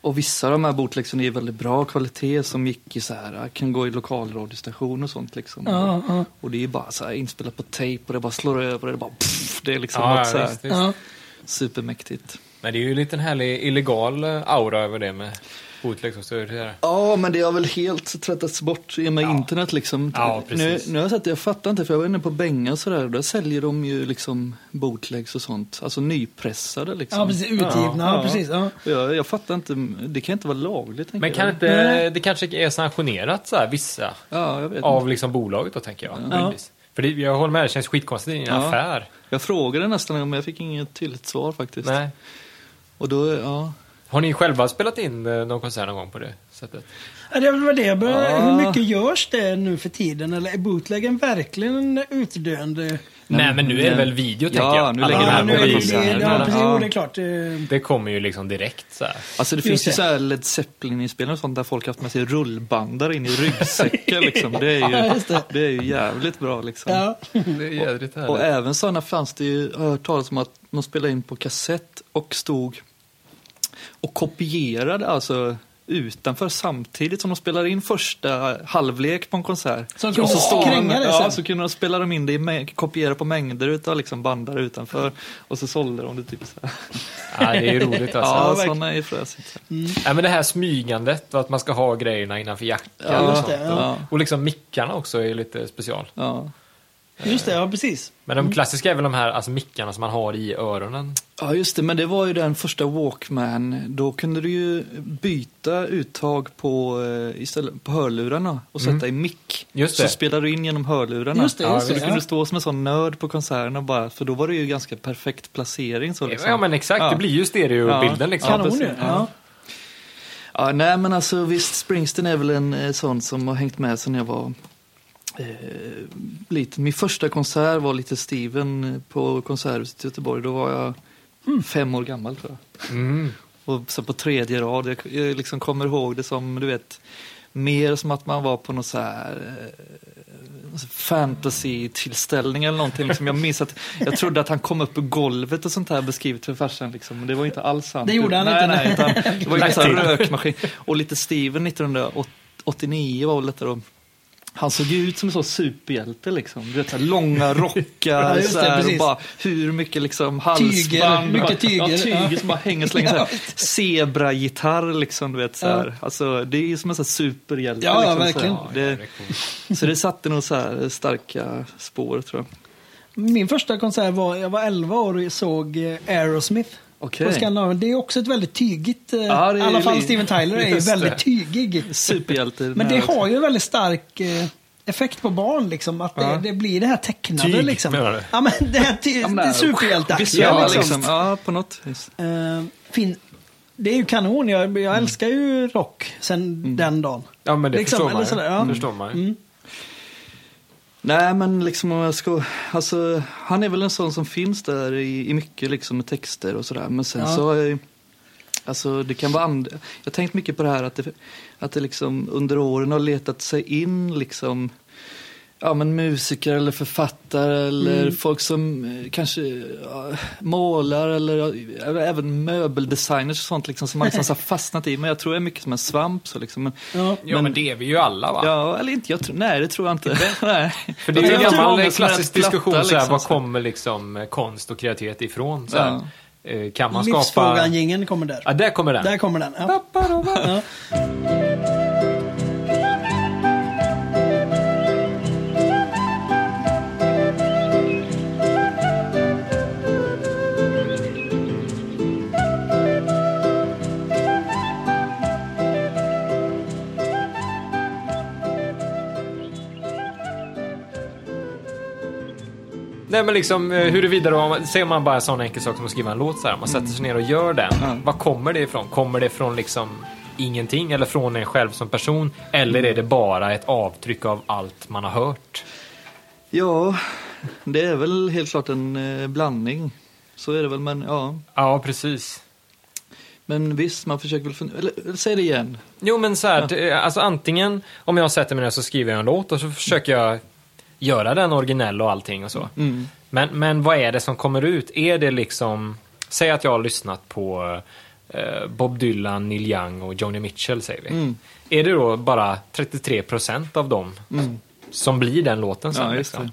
Speaker 5: Och vissa av de här bootlegsen är väldigt bra kvalitet som gick i så här, kan gå i lokalradiostation och sånt liksom.
Speaker 6: Ja, ja.
Speaker 5: Och det är ju bara så här inspelat på tejp och det bara slår över och det bara pff, det är liksom
Speaker 2: Ja,
Speaker 5: något så här
Speaker 2: visst, visst.
Speaker 6: Ja.
Speaker 5: supermäktigt.
Speaker 2: Men det är ju en liten härlig illegal eh, aura över det med bootlegs och så. är det där.
Speaker 5: Ja, men det har väl helt tvättats bort i och med internet liksom.
Speaker 2: Ja,
Speaker 5: nu,
Speaker 2: precis.
Speaker 5: nu har jag sett det, jag fattar inte för jag var inne på Benga och sådär och där säljer de ju liksom bootlegs och sånt. Alltså nypressade liksom.
Speaker 6: ja, precis. Utgivna. Ja, precis. Ja.
Speaker 5: Och Jag, jag fattar inte, det kan inte vara lagligt. tänker
Speaker 2: Men kan
Speaker 5: jag.
Speaker 2: inte, det kanske är sanktionerat så här, vissa
Speaker 5: Ja, jag vet inte.
Speaker 2: av liksom bolaget då tänker jag. möjligtvis. För det, jag håller med, det känns skitkonstigt i en
Speaker 5: Ja.
Speaker 2: affär.
Speaker 5: Jag frågade nästan men jag fick inget tydligt svar faktiskt.
Speaker 2: Nej.
Speaker 5: Och då, ja.
Speaker 2: Har ni själva spelat in eh, någon konsert någon gång på det sättet?
Speaker 6: Ja, Det var det jag började.
Speaker 5: Ja.
Speaker 6: Hur mycket görs det nu för tiden? Eller är bootleggen verkligen utdöende?
Speaker 2: Nej, men nu är det väl video tänker jag.
Speaker 5: nu
Speaker 2: Alla
Speaker 5: lägger vi
Speaker 2: de här
Speaker 5: den
Speaker 6: nu är
Speaker 5: på
Speaker 6: det,
Speaker 5: konserterna.
Speaker 6: ja, precis.
Speaker 5: Ja.
Speaker 6: Jo, det är klart. eh,
Speaker 2: Det kommer ju liksom direkt så här.
Speaker 5: Alltså det
Speaker 6: Just
Speaker 5: finns ju
Speaker 6: det.
Speaker 5: så här Led Zeppelin-inspelningar och sånt där folk har haft med sig rullbandare in i
Speaker 6: [laughs]
Speaker 5: ryggsäcken liksom. Det är
Speaker 6: Ja,
Speaker 5: ju,
Speaker 6: just det.
Speaker 5: det är ju jävligt bra liksom.
Speaker 6: Ja.
Speaker 2: Det är jädrigt
Speaker 5: Och
Speaker 2: härligt.
Speaker 5: även sådana fanns det ju, har jag hört talas om att de spelade in på kassett och stod och kopierade alltså utanför samtidigt som de spelar in första halvlek på en konsert.
Speaker 6: Så de kunde
Speaker 5: de-
Speaker 6: kränga det
Speaker 5: ja,
Speaker 6: sen.
Speaker 5: så kunde de spela dem in det, i mäng- kopiera på mängder utav liksom band där utanför och så sålde de det typ så här.
Speaker 2: Ja, det är ju roligt alltså.
Speaker 5: Ja,
Speaker 6: verkligen.
Speaker 5: sådana är fräsigt.
Speaker 2: Nej, men det här smygandet, att man ska ha grejerna innanför jackan
Speaker 6: Ja,
Speaker 2: och
Speaker 6: just
Speaker 2: sånt.
Speaker 6: det. Ja.
Speaker 5: Ja.
Speaker 2: Och liksom mickarna också är lite special.
Speaker 5: Ja.
Speaker 6: Just det, ja precis.
Speaker 2: Men de klassiska är väl de här alltså, mickarna som man har i öronen.
Speaker 5: Ja, just det. Men det var ju den första Walkman. Då kunde du ju byta uttag på, eh, istället, på hörlurarna och sätta i mick.
Speaker 2: Mm. Just
Speaker 5: så
Speaker 2: det.
Speaker 5: spelade du in genom hörlurarna.
Speaker 6: Just det, just
Speaker 5: så
Speaker 6: det,
Speaker 5: du kunde
Speaker 6: ja.
Speaker 5: stå som en sån nörd på konserterna bara, för då var det ju ganska perfekt placering. Så liksom.
Speaker 2: Ja men exakt,
Speaker 5: Ja.
Speaker 2: det blir ju stereobilden
Speaker 5: Ja.
Speaker 2: liksom.
Speaker 5: Ja,
Speaker 6: Kanon ju.
Speaker 5: precis.
Speaker 6: Ja.
Speaker 5: Ja, nej men alltså visst, Springsteen är väl en eh, sån som har hängt med sedan jag var eh, liten. Min första konsert var lite Steven eh, på Konserthuset i Göteborg. Då var jag
Speaker 6: Mm.
Speaker 5: fem år gammal tror jag.
Speaker 2: Mm.
Speaker 5: Och så på tredje rad, jag, jag liksom kommer ihåg det som, du vet, mer som att man var på någon så här eh, fantasy-tillställning eller någonting. Liksom jag minns att jag trodde att han kom upp på golvet och sånt här beskrivet för farsan. Liksom. Men det var ju inte alls sant.
Speaker 6: Det gjorde han
Speaker 5: nej,
Speaker 6: inte,
Speaker 5: Nej, utan det var ju en sån här rökmaskin. Och lite Steven 1989 var väl detta då. Han såg ju ut som en sån superhjälte liksom. Du vet, så här, långa rockar
Speaker 6: [laughs] Ja, just
Speaker 5: så
Speaker 6: det,
Speaker 5: här, och
Speaker 6: precis.
Speaker 5: bara hur mycket liksom halsband.
Speaker 6: mycket
Speaker 5: Ja,
Speaker 6: tyger, ja.
Speaker 5: tyger som bara hänger så länge. så [laughs] här. Zebra-gitarr liksom, du vet så här. Alltså, det är ju som en sån här superhjälte.
Speaker 6: Ja,
Speaker 5: liksom,
Speaker 6: verkligen.
Speaker 5: Så, här. det, så det satte nog så här starka spår tror jag.
Speaker 6: Min första konsert var, jag var 11 år och såg eh, Aerosmith.
Speaker 5: Okej.
Speaker 6: På Skandinavien. Det är också ett väldigt tygigt, eh,
Speaker 5: Ja, det
Speaker 6: i
Speaker 5: är
Speaker 6: alla fall
Speaker 5: li-
Speaker 6: Steven
Speaker 5: [laughs]
Speaker 6: Tyler är ju
Speaker 2: Just det.
Speaker 6: väldigt tygig.
Speaker 5: Superhjälte.
Speaker 6: Men det
Speaker 5: med-
Speaker 6: har ju en väldigt stark eh, effekt på barn liksom. Att det,
Speaker 5: Ja.
Speaker 6: det blir det här tecknade
Speaker 2: Tyg,
Speaker 6: liksom.
Speaker 2: menar du?
Speaker 6: Ja men det här ty-
Speaker 5: men
Speaker 6: det
Speaker 5: det
Speaker 6: är
Speaker 5: här-
Speaker 6: superhjälteaktiga
Speaker 5: Ja,
Speaker 6: liksom.
Speaker 5: liksom. ja, på något vis.
Speaker 6: Eh, fin- det är ju kanon. Jag, jag älskar ju rock sen den dagen.
Speaker 2: Ja men det
Speaker 6: Liksom,
Speaker 2: förstår man
Speaker 6: eller
Speaker 2: ju.
Speaker 6: sådär, ja. Mm.
Speaker 2: Det förstår man ju.
Speaker 5: Nej, men liksom om jag ska... Alltså, han är väl en sån som finns där i, i mycket liksom med texter och sådär. Men sen
Speaker 6: Ja.
Speaker 5: så har jag ju... Alltså det kan vara and... Jag har tänkt mycket på det här att det, att det liksom under åren har letat sig in liksom ja, men musiker eller författare eller
Speaker 6: Mm.
Speaker 5: folk som eh, kanske ja, målar eller ja, även möbeldesigners och sånt liksom som man liksom så har fastnat i. Men jag tror jag är mycket som en svamp så liksom. Men,
Speaker 6: Ja.
Speaker 2: Ja men, det är vi ju alla va?
Speaker 5: Ja, eller inte. Jag tror, nej, det tror jag inte. [laughs] nej.
Speaker 2: För det
Speaker 5: Jag tror
Speaker 2: är ju en
Speaker 5: inte
Speaker 2: gammal
Speaker 5: många
Speaker 2: en
Speaker 5: som är
Speaker 2: klassisk
Speaker 5: rätt platta,
Speaker 2: diskussion, så här,
Speaker 5: liksom,
Speaker 2: var
Speaker 5: så.
Speaker 2: kommer liksom eh, konst och kreativitet ifrån? Så här, eh, Kan man skapa...
Speaker 6: Livsfrågan-jingeln kommer där.
Speaker 2: Ja, där kommer den.
Speaker 6: Där kommer den. Ja. Ja.
Speaker 2: Nej men liksom eh, huruvida då, ser man bara en sån enkel sak som att skriva en låt så här, man sätter sig ner och gör den. Var kommer det ifrån? Kommer det från liksom ingenting eller från en själv som person? Eller är det bara ett avtryck av allt man har hört?
Speaker 5: Ja, det är väl helt klart en eh, blandning. Så är det väl, men ja.
Speaker 2: Ja, precis.
Speaker 5: Men visst, man försöker väl fundera. Eller, eller säg det igen.
Speaker 2: Jo men så här, det- alltså antingen om jag sätter mig ner så skriver jag en låt och så försöker jag göra den originell och allting och så.
Speaker 6: Mm.
Speaker 2: Men, men vad är det som kommer ut? Är det liksom, säg att jag har lyssnat på eh, Bob Dylan, Neil Young och Joni Mitchell säger vi.
Speaker 6: Mm.
Speaker 2: Är det då bara 33% av dem
Speaker 6: Mm.
Speaker 2: som blir den låten sen?
Speaker 5: Ja, just
Speaker 2: liksom?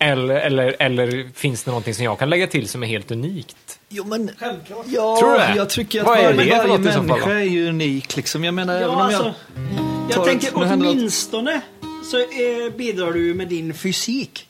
Speaker 2: eller, eller, eller finns det någonting som jag kan lägga till som är helt unikt?
Speaker 5: Jo, men... Ja,
Speaker 2: Tror du det?
Speaker 5: jag tycker att
Speaker 2: Vad är det
Speaker 5: varje,
Speaker 2: för
Speaker 5: varje
Speaker 2: något i så fall,
Speaker 5: människa
Speaker 2: då?
Speaker 5: är ju unik. Liksom. Jag menar, även
Speaker 6: Ja,
Speaker 5: om jag...
Speaker 6: alltså, jag
Speaker 5: tar ett-
Speaker 6: tänker
Speaker 5: nu händer något.
Speaker 6: åtminstone så eh, bidrar du ju med din fysik.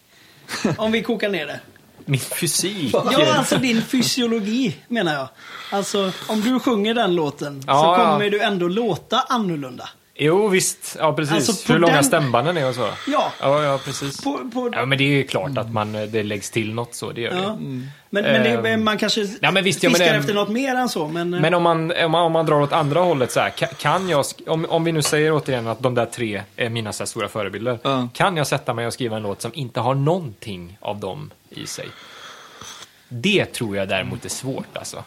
Speaker 6: Om vi kokar ner det.
Speaker 2: Min fysik?
Speaker 6: Ja, alltså din fysiologi menar jag. Alltså, om du sjunger den låten
Speaker 2: Ja,
Speaker 6: så
Speaker 2: ja.
Speaker 6: kommer du ändå låta annorlunda.
Speaker 2: Jo visst, ja precis.
Speaker 6: Alltså, på
Speaker 2: Hur långa
Speaker 6: den-
Speaker 2: stämbanden är och så.
Speaker 6: Ja.
Speaker 2: ja, ja precis.
Speaker 6: På, på,
Speaker 2: Ja, men det är ju klart att man, eh, det läggs till något så, det gör
Speaker 6: ja.
Speaker 2: det.
Speaker 6: Men, men det,
Speaker 2: Ehm.
Speaker 6: man kanske
Speaker 2: Ja, men visst, ja,
Speaker 6: fiskar
Speaker 2: men det-
Speaker 6: efter något mer än så. Men, eh,
Speaker 2: Men om man, om man, om man drar åt andra hållet så här, ka- kan jag, sk- om, om vi nu säger återigen att de där tre är mina så här stora förebilder,
Speaker 5: Ja.
Speaker 2: kan jag sätta mig och skriva en låt som inte har någonting av dem i sig? Det tror jag däremot är svårt alltså.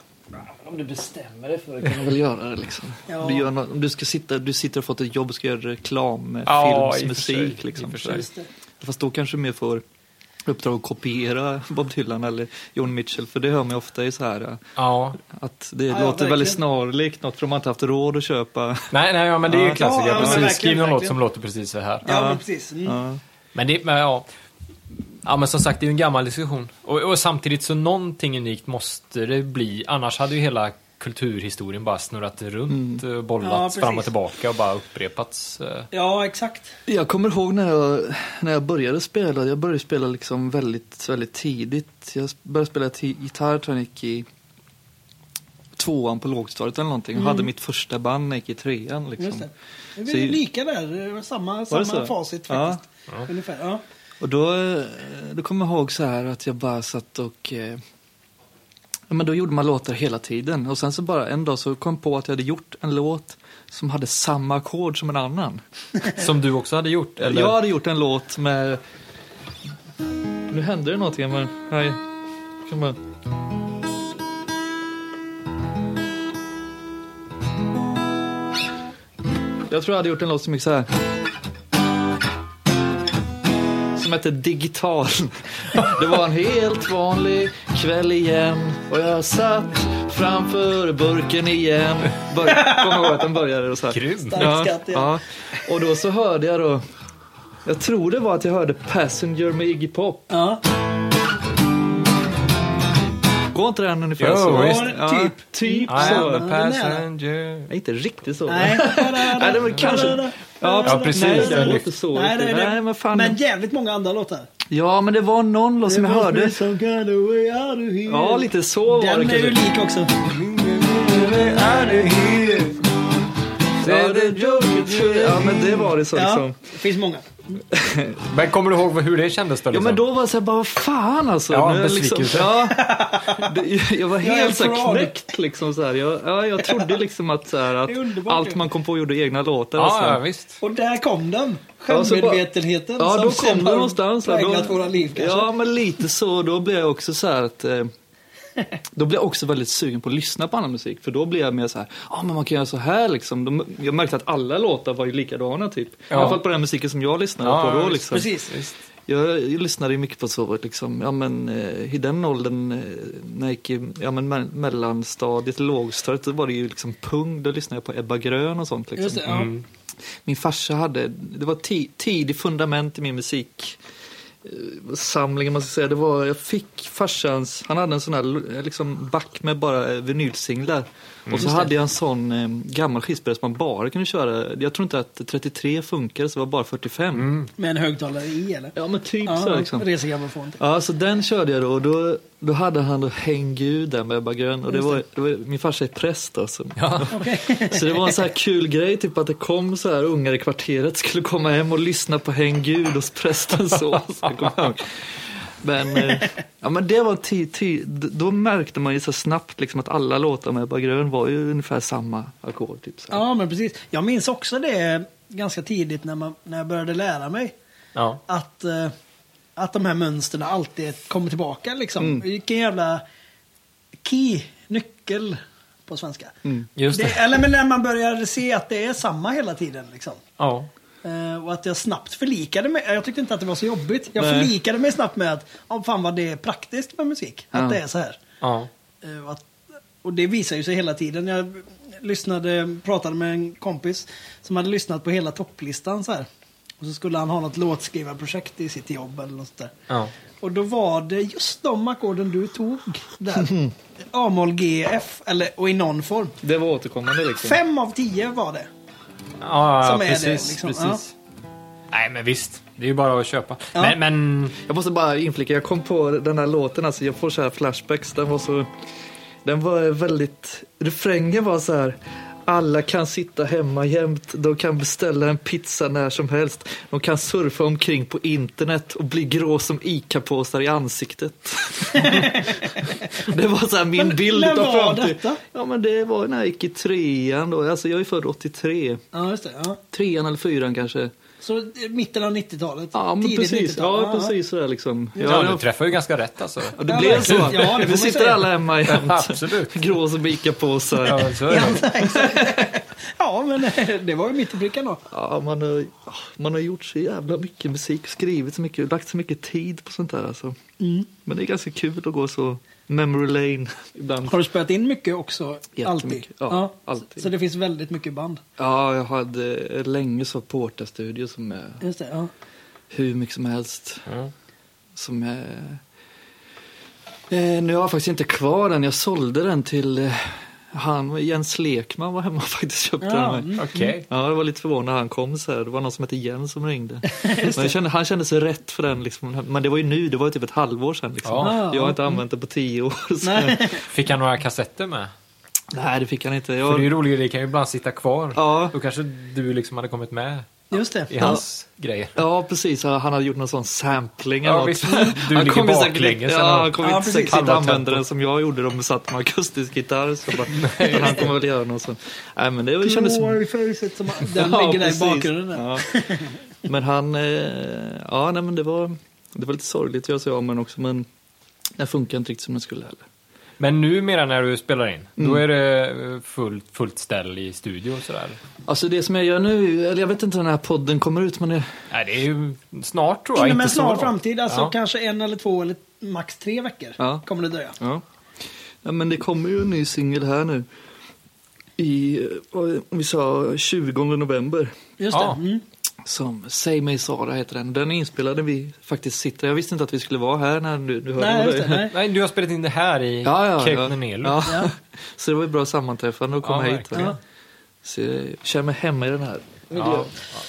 Speaker 5: Om du bestämmer dig för det kan du väl göra det liksom.
Speaker 6: Ja.
Speaker 5: Du, gör något, om du, ska sitta, du sitter och fått ett jobb och ska göra reklam,
Speaker 2: Ja,
Speaker 5: filmsmusik
Speaker 2: i och för sig, i
Speaker 5: liksom.
Speaker 2: och för sig.
Speaker 5: Fast då kanske du mer får uppdrag att kopiera Bob Dylan eller John Mitchell. För det hör man ju ofta i så här eh,
Speaker 2: Ja.
Speaker 5: att det
Speaker 6: ja,
Speaker 5: låter väldigt
Speaker 6: verkligen. Mm.
Speaker 5: snarlikt något för de har inte haft råd att köpa.
Speaker 2: Nej, nej, ja, men det är ju
Speaker 5: Ja.
Speaker 2: klassiker.
Speaker 6: Ja, ja, men
Speaker 2: precis.
Speaker 6: verkligen,
Speaker 2: Skriv någon låt
Speaker 6: verkligen.
Speaker 2: som låter precis så här.
Speaker 6: Ja, men precis. Mm.
Speaker 5: Ja.
Speaker 2: Men det, men ja. Ja men som sagt, det är ju en gammal diskussion. Och, och samtidigt så någonting unikt måste det bli. Annars hade ju hela kulturhistorien bara snurrat runt,
Speaker 6: Mm.
Speaker 2: eh,
Speaker 6: Ja,
Speaker 2: bollats
Speaker 6: precis.
Speaker 2: fram och tillbaka och bara upprepats. eh.
Speaker 6: Ja, exakt.
Speaker 5: Jag kommer ihåg när jag, när jag började spela. Jag började spela liksom väldigt, väldigt tidigt. Jag började spela ti- gitarr tror jag när jag gick i tvåan på lågstadiet eller någonting. Och hade mitt första band när jag gick i trean.
Speaker 6: Mm. Just
Speaker 5: Liksom.
Speaker 6: det. Det
Speaker 5: Så-
Speaker 6: är lika där, eh, samma,
Speaker 5: Var det
Speaker 6: samma
Speaker 5: så?
Speaker 6: facit
Speaker 5: Ja.
Speaker 6: faktiskt. Ungefär, ja.
Speaker 5: Och då, eh, då kommer jag ihåg så här att jag bara satt och... eh, Ja, men då gjorde man låtar hela tiden. Och sen så bara en dag så kom jag på att jag hade gjort en låt som hade samma ackord som en annan.
Speaker 2: Som du också hade gjort? Eller?
Speaker 5: Jag hade gjort en låt med... Nu hände det någonting. Men... Nej. Kan man... Jag tror jag hade gjort en låt som gick så här. Som hette Digital. Det var en helt vanlig kväll igen. Och jag satt framför burken igen. Bör- Kom ihåg att den började så här.
Speaker 2: Grym!
Speaker 6: Stark skatt, ja.
Speaker 5: ja. Och då så hörde jag då, jag tror det var att jag hörde Passenger med Iggy Pop.
Speaker 6: ja.
Speaker 5: Går inte den ungefär
Speaker 2: Jo,
Speaker 5: så?
Speaker 2: visst.
Speaker 5: Ja,
Speaker 6: Typ.
Speaker 5: typ
Speaker 2: I
Speaker 5: så.
Speaker 2: am
Speaker 6: Ja,
Speaker 2: a
Speaker 6: den är nära.
Speaker 2: passenger.
Speaker 5: Nej, inte riktigt så. [laughs]
Speaker 6: Nej,
Speaker 5: Nej, det var kanske- Ja,
Speaker 2: Ja, precis.
Speaker 5: Nej, det
Speaker 2: Den
Speaker 5: låter
Speaker 2: lyfts.
Speaker 5: så.
Speaker 6: Nej,
Speaker 5: riktigt.
Speaker 6: nej, nej.
Speaker 5: Nej, men fan.
Speaker 6: Men jävligt många andra låtar.
Speaker 5: Ja, men det var någon låt som jag hörde.
Speaker 6: Some kind of way out of here.
Speaker 5: Ja, lite så var det
Speaker 6: Den är
Speaker 5: kanske. Mm,
Speaker 6: ju lik också.
Speaker 5: Ja, det- ja, men det var det så
Speaker 6: Ja,
Speaker 5: liksom.
Speaker 6: det finns många.
Speaker 2: Men kommer du ihåg hur det kändes då?
Speaker 5: Ja
Speaker 2: Liksom?
Speaker 5: men då var jag såhär bara, vad fan alltså.
Speaker 2: Ja,
Speaker 5: Nu är jag
Speaker 2: besvikelse.
Speaker 5: ja, det, jag var
Speaker 6: Jag är
Speaker 5: helt såhär
Speaker 6: fraud.
Speaker 5: knäckt liksom såhär. Jag, ja, jag trodde liksom att, så här, att
Speaker 6: Det är underbart
Speaker 5: allt
Speaker 6: ju.
Speaker 5: man kom på gjorde egna låtar. och så.
Speaker 2: Ja, ja, visst.
Speaker 6: Och där kom den.
Speaker 5: Ja, så bara-
Speaker 6: Självmedvetenheten
Speaker 5: Ja,
Speaker 6: som
Speaker 5: då
Speaker 6: sen
Speaker 5: kom det
Speaker 6: har
Speaker 5: någonstans. här.
Speaker 6: präglat
Speaker 5: Då-
Speaker 6: våra liv kanske.
Speaker 5: Ja, men lite så. Då blev jag också så här att... Eh, då blev jag också väldigt sugen på att lyssna på annan musik. För då blev jag mer så här, ja men man kan göra så här liksom. De, jag märkte att alla låtar var ju likadana typ. I
Speaker 2: Ja.
Speaker 5: alla fall på den musiken som jag lyssnade
Speaker 2: Ja,
Speaker 5: på då
Speaker 2: visst,
Speaker 5: liksom.
Speaker 6: Precis.
Speaker 5: Jag, jag lyssnade ju mycket på så liksom, ja men eh, i den åldern eh, när jag gick i ja, men, me- mellanstadiet, lågstadiet, då var det ju liksom pung, då lyssnade jag på Ebba Grön och sånt liksom.
Speaker 6: Just det, ja.
Speaker 5: Min farsa hade, det var ti- tidig fundament i min musik eh, samling om man ska säga. Det var, jag fick farsans, han hade en sån här eh, liksom, back med bara eh, vinylsinglar.
Speaker 6: Mm.
Speaker 5: Och så hade jag en sån eh, gammal skivspelare som man bara kunde köra. Jag tror inte att 33 funkade så det var bara 45.
Speaker 6: Med en högtalare i eller?
Speaker 5: Ja men typ så liksom.
Speaker 6: resegrammofon.
Speaker 5: Ja, så den körde jag då och då, då hade han då Häng Gud där med Ebba Grön och det var, det var, min farsa är präst alltså. [laughs] Så det var en så här kul grej, typ att det kom så här ungar i kvarteret skulle komma hem och lyssna på Häng Gud hos prästen så. så jag kommer ihåg. men, eh, ja, men det var ti, ti, d- då märkte man ju så snabbt liksom att alla låtar med Ebba Grön var ju ungefär samma ackord. Typ, så här.
Speaker 6: Ja, men precis. Jag minns också det ganska tidigt när, man, när jag började lära mig.
Speaker 2: Ja.
Speaker 6: Att, eh, att de här mönstren alltid kommer tillbaka liksom.
Speaker 5: Mm.
Speaker 6: Vilken jävla key, nyckel på svenska.
Speaker 5: Mm.
Speaker 2: Just det.
Speaker 6: Det, eller men när man började se att det är samma hela tiden liksom.
Speaker 2: Ja.
Speaker 6: Eh, och att jag snabbt förlikade mig. Jag tyckte inte att det var så jobbigt. Jag
Speaker 5: Nej.
Speaker 6: förlikade mig snabbt med att, oh, fan vad det är praktiskt med musik.
Speaker 5: Ja.
Speaker 6: Att det är så här.
Speaker 2: ja.
Speaker 6: Eh, och Att, och det visar ju sig hela tiden. Jag lyssnade, pratade med en kompis som hade lyssnat på hela topplistan så här. Och så skulle han ha något låtskrivarprojekt i sitt jobb eller något sånt där.
Speaker 2: ja.
Speaker 6: Och då var det just de ackorden du tog
Speaker 5: [laughs]
Speaker 6: där. A-moll, G, F eller, och i någon form.
Speaker 5: Det var återkommande liksom.
Speaker 6: Fem av tio var det.
Speaker 2: Ja,
Speaker 6: Som är det,
Speaker 2: precis.
Speaker 6: liksom.
Speaker 2: precis. Nej, men visst. Det är ju bara att köpa.
Speaker 6: Ja.
Speaker 2: Men, men
Speaker 5: Jag måste bara inflika, jag kom på den här låten, alltså jag får så här flashbacks. Den var så... Den var väldigt... Refrängen var så här... Alla kan sitta hemma jämt, de kan beställa en pizza när som helst. De kan surfa omkring på internet och bli grå som ICA-påsar i ansiktet. [laughs] det var så här min
Speaker 6: Men
Speaker 5: bild
Speaker 6: när
Speaker 5: av
Speaker 6: var
Speaker 5: framtiden.
Speaker 6: detta?
Speaker 5: Ja men det var när jag gick i trean då, alltså jag är född 83.
Speaker 6: Ja, just det. Ja.
Speaker 5: Trean eller fyran kanske.
Speaker 6: Så eh, mitten av 90-talet?
Speaker 5: Ja, men
Speaker 6: tidigt
Speaker 5: precis.
Speaker 6: 90-tal,
Speaker 5: Ja, precis sådär liksom. Ja,
Speaker 2: Ja,
Speaker 5: ja,
Speaker 2: du träffar ju ganska rätt alltså.
Speaker 5: ja, det blev så.
Speaker 6: Ja, det får man
Speaker 5: Vi sitter
Speaker 6: säga.
Speaker 5: alla hemma
Speaker 6: [laughs]
Speaker 5: jämt.
Speaker 2: Absolut.
Speaker 5: Grå som Ica-påsar.
Speaker 2: Ja, men så är det.
Speaker 6: Ja, men eh, det var ju mitt i pricken då.
Speaker 5: Ja, man, har, man har gjort så jävla mycket musik, skrivit så mycket, lagt så mycket tid på sånt där. Alltså.
Speaker 6: Mm.
Speaker 5: Men det är ganska kul att gå så memory lane ibland.
Speaker 6: Har du spelat in mycket också? Alltid?
Speaker 5: Jättemycket, ja, alltid.
Speaker 6: Så det finns väldigt mycket band?
Speaker 5: Ja, jag hade länge så Porta-studio som är
Speaker 6: Just det, ja.
Speaker 5: hur mycket som helst.
Speaker 2: Ja.
Speaker 5: Som är... Eh, nu har jag faktiskt inte kvar den, jag sålde den till eh, han, Jens Lekman var hemma och faktiskt köpte
Speaker 6: Ja,
Speaker 5: den av mig.
Speaker 6: mm.
Speaker 2: Okej.
Speaker 5: Ja, jag var lite förvånad när han kom så här. Det var någon som hette Jens som
Speaker 2: [laughs]
Speaker 5: ringde. Men jag kände, han kände sig rätt för den. Liksom. Men det var ju nu, det var ju typ ett halvår sedan. Liksom.
Speaker 2: Ja. Mm.
Speaker 5: jag har inte använt det på tio år. Så. Nej.
Speaker 6: Nej.
Speaker 2: Fick han några kassetter med?
Speaker 5: det fick han inte.
Speaker 2: För det är ju
Speaker 5: Jag,
Speaker 2: roligare, det kan ju ibland sitta kvar.
Speaker 5: ja,
Speaker 2: Då kanske du liksom hade kommit med
Speaker 6: Just det.
Speaker 2: i hans grejer.
Speaker 5: ja, precis. Ja, Han hade gjort någon sån sampling
Speaker 2: Ja,
Speaker 5: eller något.
Speaker 2: visst.
Speaker 5: [laughs]
Speaker 2: Du ligger
Speaker 5: kommer säkert-
Speaker 2: baklänges eller
Speaker 5: Ja,
Speaker 2: något.
Speaker 5: han kommer
Speaker 6: Ja,
Speaker 5: inte
Speaker 6: precis.
Speaker 5: säkert inte
Speaker 2: Halva
Speaker 5: använda
Speaker 2: tempo.
Speaker 5: den som jag gjorde. De satt med akustisk gitarr. Så
Speaker 2: [laughs]
Speaker 5: bara, men han kommer väl göra något sånt. Nej, men det kändes
Speaker 6: Gloryfaces, som-
Speaker 5: [laughs]
Speaker 6: Den
Speaker 5: Ja,
Speaker 6: ligger där i
Speaker 5: precis.
Speaker 6: bakgrunden. där.
Speaker 5: Ja. Men han, eh, ja nej men det var, det var lite sorgligt att göra sig av med den också men den funkar inte riktigt som den skulle heller.
Speaker 2: Men numera när du spelar in, då
Speaker 5: Mm.
Speaker 2: är det eh, fullt, fullt ställ i studio och sådär?
Speaker 5: Alltså det som jag gör nu, eller jag vet inte när den här podden kommer ut men det,
Speaker 2: Nej, det är ju snart tror jag.
Speaker 6: Inom en
Speaker 2: inte så
Speaker 6: snar
Speaker 2: långt.
Speaker 6: framtid, alltså
Speaker 2: Ja.
Speaker 6: kanske en eller två eller max tre veckor
Speaker 5: Ja.
Speaker 6: kommer det dröja.
Speaker 5: ja. ja men det kommer ju en ny singel här nu. I, eh, vad- om vi sa 20 november.
Speaker 6: Just
Speaker 2: Ja.
Speaker 6: det. Mm.
Speaker 5: Som Säg mig Sara heter den. Den är inspelad när vi faktiskt sitter, jag visste inte att vi skulle vara här när du, du hörde
Speaker 6: Nej,
Speaker 5: om
Speaker 6: just det. Nej.
Speaker 2: Nej, du har spelat in det här i
Speaker 5: Ja, ja,
Speaker 2: Cape
Speaker 5: ja.
Speaker 2: Nanelu.
Speaker 5: Ja. [laughs] Så det var ett bra sammanträffande att komma
Speaker 2: Ja,
Speaker 5: hit.
Speaker 2: verkligen.
Speaker 5: Ja. Så jag känner mig hemma i den här.
Speaker 2: Ja.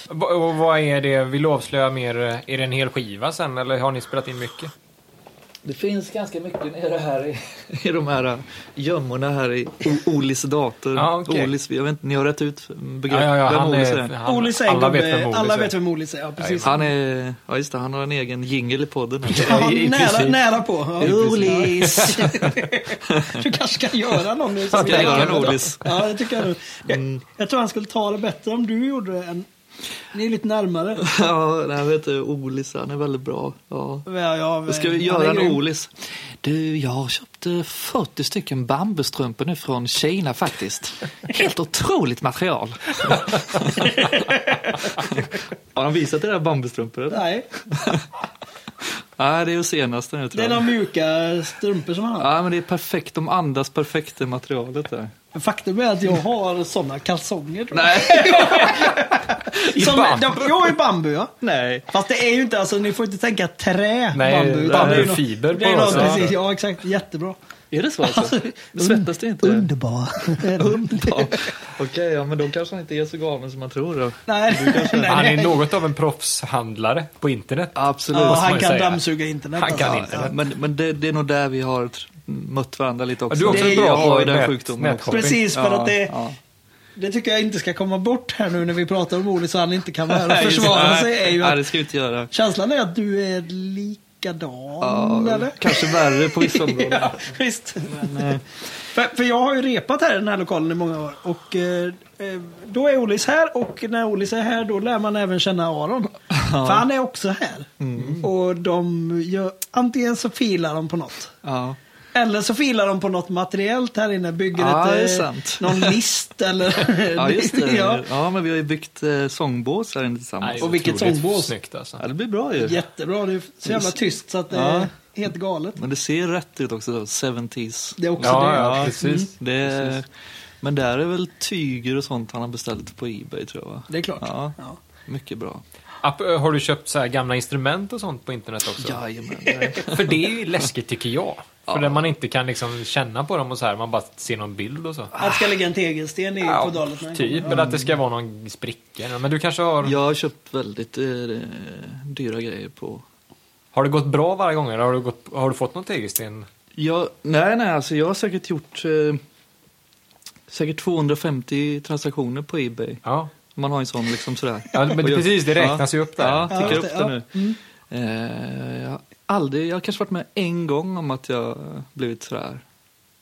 Speaker 2: Va- Och vad är det, vill du avslöja mer, eh, är det en hel skiva sen eller har ni spelat in mycket?
Speaker 5: Det finns ganska mycket nere här i, [laughs] i de här äh, gömmorna här i O- Olis dator.
Speaker 2: Ja, okej.
Speaker 5: Olis, jag vet inte, ni har rätt ut begrepp. Vem
Speaker 2: han
Speaker 5: Olis
Speaker 2: är-
Speaker 5: är?
Speaker 2: han-
Speaker 6: Olis är en
Speaker 2: alla vet
Speaker 6: gubbe-
Speaker 2: vem Olis
Speaker 6: alla
Speaker 2: är.
Speaker 6: vet vem Olis är. Ja, precis.
Speaker 5: Han är, ja just det, han har en egen jingle i podden.
Speaker 6: Ja,
Speaker 2: I- i
Speaker 6: nära,
Speaker 2: princip.
Speaker 6: nära på. Ja,
Speaker 5: Olis!
Speaker 6: [laughs] Du kanske kan göra någon nu. som
Speaker 5: Ska jag
Speaker 6: gör
Speaker 5: göra en
Speaker 6: det.
Speaker 5: Olis?
Speaker 6: Ja, det tycker jag nog. Jag, jag tror han skulle ta det bättre om du gjorde det. Än, ni är lite närmare.
Speaker 5: Ja, nej, vet du, Olis, han är väldigt bra. Ja.
Speaker 6: Ja, ja,
Speaker 5: Ska
Speaker 6: Eh, han
Speaker 5: vi
Speaker 6: är
Speaker 5: göra en
Speaker 6: grym.
Speaker 5: Olis? Du, jag köpte 40 stycken bambustrumpor nu från Kina faktiskt.
Speaker 6: [laughs]
Speaker 5: Helt otroligt material. Har han visat era bambustrumpor? eller?
Speaker 6: Nej,
Speaker 5: Nej, det är ju senaste nu
Speaker 6: det är
Speaker 5: tror jag.
Speaker 6: de mjuka strumpor som han har.
Speaker 5: Ja, men det är perfekt. De andas perfekt i materialet
Speaker 6: [laughs]
Speaker 5: där.
Speaker 6: Faktum är att jag har sådana kalsonger. Tror jag.
Speaker 5: Nej,
Speaker 6: som,
Speaker 2: bambu.
Speaker 6: De, jo, i bambu ja.
Speaker 5: nej.
Speaker 6: Fast det är ju inte, alltså ni får inte tänka trä
Speaker 2: Nej,
Speaker 6: bambu. utan
Speaker 2: bambu
Speaker 6: det är ju
Speaker 2: fiber
Speaker 6: något-
Speaker 2: på
Speaker 6: det är något,
Speaker 2: något sätt.
Speaker 6: precis, Ja, exakt. Jättebra.
Speaker 5: Är det så alltså? Svettas det inte?
Speaker 6: Underbar.
Speaker 5: Ja. Okej, ja, men då kanske han inte är så galen som man tror. Då.
Speaker 6: nej,
Speaker 2: Han
Speaker 6: nej.
Speaker 2: är något av en proffshandlare på internet.
Speaker 5: Absolut.
Speaker 6: Ja,
Speaker 2: man
Speaker 6: han
Speaker 2: ju
Speaker 6: kan
Speaker 2: säga.
Speaker 6: dammsuga internet.
Speaker 2: Han kan
Speaker 6: alltså.
Speaker 2: inte.
Speaker 5: Ja, men men det, det är nog där vi har tr- mött varandra lite också.
Speaker 2: Du är också
Speaker 6: Det-
Speaker 2: bra
Speaker 5: jag har ju
Speaker 2: på
Speaker 5: den
Speaker 2: nät-
Speaker 5: sjukdomen också.
Speaker 2: nätshopping.
Speaker 6: Precis, för
Speaker 5: Ja,
Speaker 6: att det,
Speaker 5: ja.
Speaker 6: det tycker jag inte ska komma bort här nu när vi pratar om Olle så han inte kan vara här och
Speaker 5: Nej,
Speaker 6: försvara
Speaker 5: nej.
Speaker 6: sig. Är ju
Speaker 5: Nej, det
Speaker 6: att,
Speaker 5: ska vi inte göra.
Speaker 6: känslan är att du är likadan,
Speaker 5: Ja,
Speaker 6: Mm, eller?
Speaker 5: kanske värre på
Speaker 6: [laughs]
Speaker 5: vissa områden.
Speaker 6: Ja, visst.
Speaker 2: eh,
Speaker 6: för, för jag har ju repat här i den här lokalen i många år. Och eh, eh, då är Olis här och när Olis är här då lär man även känna Aron. För han är också här.
Speaker 2: Mm.
Speaker 6: Och de gör, antingen så filar de på något.
Speaker 5: Ja.
Speaker 6: Eller så filar de på något materiellt här inne. Bygger
Speaker 5: Ja, det är
Speaker 6: ett, eh,
Speaker 5: sant.
Speaker 6: någon list eller...
Speaker 5: [laughs] ja, just det.
Speaker 6: [laughs] ja.
Speaker 5: Ja. men vi har ju byggt eh, sångbås här inne tillsammans.
Speaker 2: Nej,
Speaker 6: Och vilket
Speaker 2: otroligt
Speaker 6: sångbås.
Speaker 2: Snyggt alltså.
Speaker 5: Ja, det blir bra ju.
Speaker 6: Jättebra. Det är så jävla tyst så att det är
Speaker 5: Ja.
Speaker 6: helt galet.
Speaker 5: Men det ser rätt ut också, då, 70s.
Speaker 6: Det är också
Speaker 2: Ja,
Speaker 6: det.
Speaker 2: ja, precis.
Speaker 5: Det är, Men där är väl tyger och sånt han har beställt på Ebay tror jag va?
Speaker 6: Det är klart.
Speaker 5: Ja.
Speaker 6: Ja.
Speaker 5: Mycket bra.
Speaker 2: App- Har du köpt så här gamla instrument och sånt på internet också?
Speaker 5: Jajamän. nej.
Speaker 2: För det är ju läskigt tycker jag. För där man inte kan liksom känna på dem och så här, man bara ser någon bild och så.
Speaker 6: Att det ska lägga en tegelsten i
Speaker 2: Ja,
Speaker 6: på dalet. när den
Speaker 2: typ,
Speaker 6: kommer.
Speaker 2: eller att det ska vara någon spricka. eller- Men du kanske har...
Speaker 5: Jag har köpt väldigt eh, dyra grejer på
Speaker 2: Har det gått bra varje gång? Eller har du, gått, har du fått någon tegelsten?
Speaker 5: Jag, nej, nej, alltså jag har säkert gjort eh, säkert 250 transaktioner på Ebay.
Speaker 2: Ja.
Speaker 5: Man har en sån liksom sådär.
Speaker 2: Ja, men
Speaker 5: Och jag-
Speaker 2: precis, det räknas ju upp där.
Speaker 5: Ja, tickar
Speaker 6: Ja,
Speaker 5: upp
Speaker 6: just
Speaker 5: det nu. Eh, jag, har aldrig, jag har kanske varit med en gång om att jag blivit sådär
Speaker 2: Mm.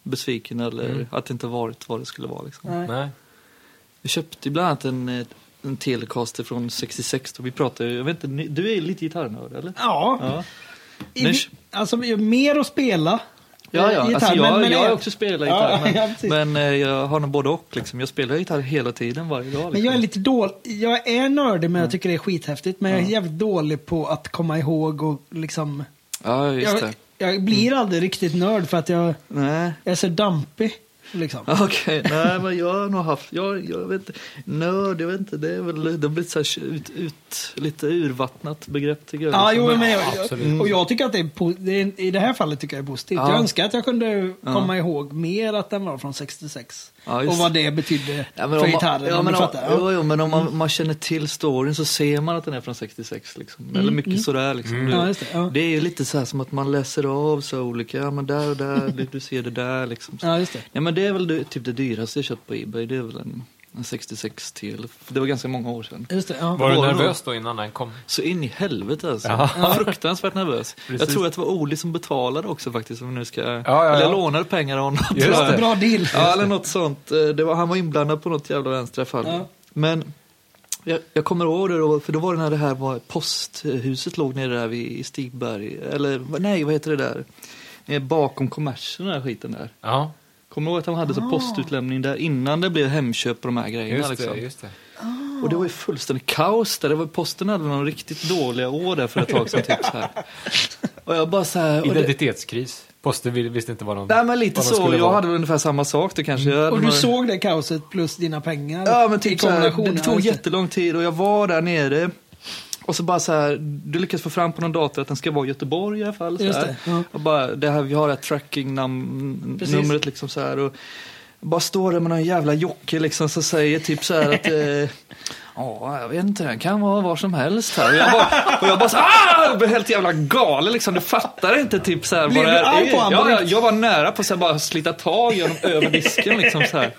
Speaker 5: besviken eller att det inte varit vad det skulle vara. Liksom.
Speaker 6: Nej.
Speaker 2: Nej.
Speaker 5: Jag köpte bland annat en eh, en Telecaster från 66 då. Vi pratar ju, jag vet inte, ni- du är ju lite gitarrnörd eller?
Speaker 6: Ja,
Speaker 5: Ja,
Speaker 6: I,
Speaker 5: Men-
Speaker 6: alltså mer att spela.
Speaker 5: ja, ja.
Speaker 6: Eh, Gitarr,
Speaker 5: alltså jag,
Speaker 6: men- men
Speaker 5: jag
Speaker 6: det-
Speaker 5: har också spelat
Speaker 6: Ja,
Speaker 5: gitarr. men,
Speaker 6: [laughs] ja, precis.
Speaker 5: men eh, jag har nog både och liksom. Jag spelar gitarr hela tiden varje dag. Liksom.
Speaker 6: Men jag är lite dålig. Jag är nördig
Speaker 5: Mm.
Speaker 6: men jag tycker det är skithäftigt. Men jag är jävligt dålig på att komma ihåg och liksom.
Speaker 5: Ja, just
Speaker 6: Jag,
Speaker 5: det.
Speaker 6: jag
Speaker 5: Mm.
Speaker 6: blir aldrig riktigt nörd för att jag
Speaker 5: Nej. [laughs]
Speaker 6: är så dampig. Liksom.
Speaker 5: Okej, nej men jag har nog haft, jag, jag vet inte, nörd, jag vet inte, det är väl, det har blivit så här ut, ut, lite urvattnat begrepp tycker jag.
Speaker 6: Ja,
Speaker 5: liksom.
Speaker 6: jo, men jag,
Speaker 2: Absolut.
Speaker 6: och jag tycker att det är, po- det är, i det här fallet tycker jag det är positivt.
Speaker 5: Ja.
Speaker 6: Jag önskar att jag kunde komma ihåg mer att den var från 66.
Speaker 5: Ja, just
Speaker 6: och vad det betydde
Speaker 5: Ja, men
Speaker 6: för
Speaker 5: om man-
Speaker 6: gitarren,
Speaker 5: ja,
Speaker 6: om
Speaker 5: men
Speaker 6: du
Speaker 5: om-
Speaker 6: fattar. Ja.
Speaker 5: Jo, jo, men om man, man känner till storyn så ser man att den är från 66. Liksom. Eller mycket sådär. Liksom. Du-
Speaker 6: Ja, just det, Mm. ja.
Speaker 5: det är ju lite så här som att man läser av så olika, ja men där och där, du, du ser det där liksom.
Speaker 6: Ja, just det.
Speaker 5: Ja, men det är väl det, typ det dyraste jag köpt på Ebay, det är väl en, en 66 till. Det var ganska många år sedan.
Speaker 6: Just det, ja.
Speaker 2: Var du
Speaker 5: Var det
Speaker 2: nervös då innan den kom?
Speaker 5: Så in i helvete alltså.
Speaker 2: Ja.
Speaker 5: Fruktansvärt nervös. Jag tror att det var Oli som betalade också faktiskt. Om vi nu ska...
Speaker 2: ja, ja.
Speaker 5: Eller jag lånade pengar av honom.
Speaker 2: Just
Speaker 5: tror jag.
Speaker 2: det.
Speaker 6: Bra deal.
Speaker 5: Ja, eller något sånt. Eh, Det var, han var inblandad på något jävla vänster i alla fall.
Speaker 6: Ja.
Speaker 5: Men jag, jag kommer ihåg det då, för då var det när det här var posthuset låg nere där vid i Stigberg. Eller nej, vad heter det där? Eh, Bakom kommersen den här skiten där.
Speaker 2: Ja,
Speaker 5: Kommer du ihåg att de
Speaker 6: Ah.
Speaker 5: hade så postutlämning där innan det blev Hemköp och de här grejerna?
Speaker 2: just
Speaker 5: liksom.
Speaker 2: det. Just det.
Speaker 5: Och det var ju fullständigt kaos där. Det var, posten hade någon riktigt dåliga år där för ett tag sedan. Typ, så här. Och jag bara så här, och det,
Speaker 2: Identitetskris. Posten vill- visste inte vad de...
Speaker 5: Nej men lite
Speaker 2: vad de
Speaker 5: så,
Speaker 2: skulle
Speaker 5: jag
Speaker 2: vara. Mm.
Speaker 5: hade väl ungefär samma sak då kanske. Jag hade
Speaker 6: Och du
Speaker 5: några-
Speaker 6: såg det kaoset plus dina pengar
Speaker 5: Ja men
Speaker 6: i alltså.
Speaker 5: typ så
Speaker 6: kombination.
Speaker 5: här, det tog
Speaker 6: Ja, just
Speaker 5: jättelång tid och jag var där nere. Och så bara så här, du lyckas få fram på någon dator att den ska vara i Göteborg i alla fall. Så
Speaker 6: Just
Speaker 5: här.
Speaker 6: det, ja.
Speaker 5: Och bara, det här, vi har det här tracking-numret liksom så här. Och bara står där med någon jävla jocke liksom som säger typ så här att
Speaker 6: [laughs]
Speaker 5: eh, Ja, jag vet inte, den kan vara var som helst här. Och jag bara, och jag bara så här, "Ah!" jag blev helt jävla galen liksom. Du fattar inte typ så här
Speaker 6: Blev
Speaker 5: vad
Speaker 6: du
Speaker 5: det här
Speaker 6: arg
Speaker 5: är.
Speaker 6: på honom på
Speaker 5: ja, ja,
Speaker 6: riktigt?
Speaker 5: jag var nära på att så här bara slita tag i honom över disken liksom så här.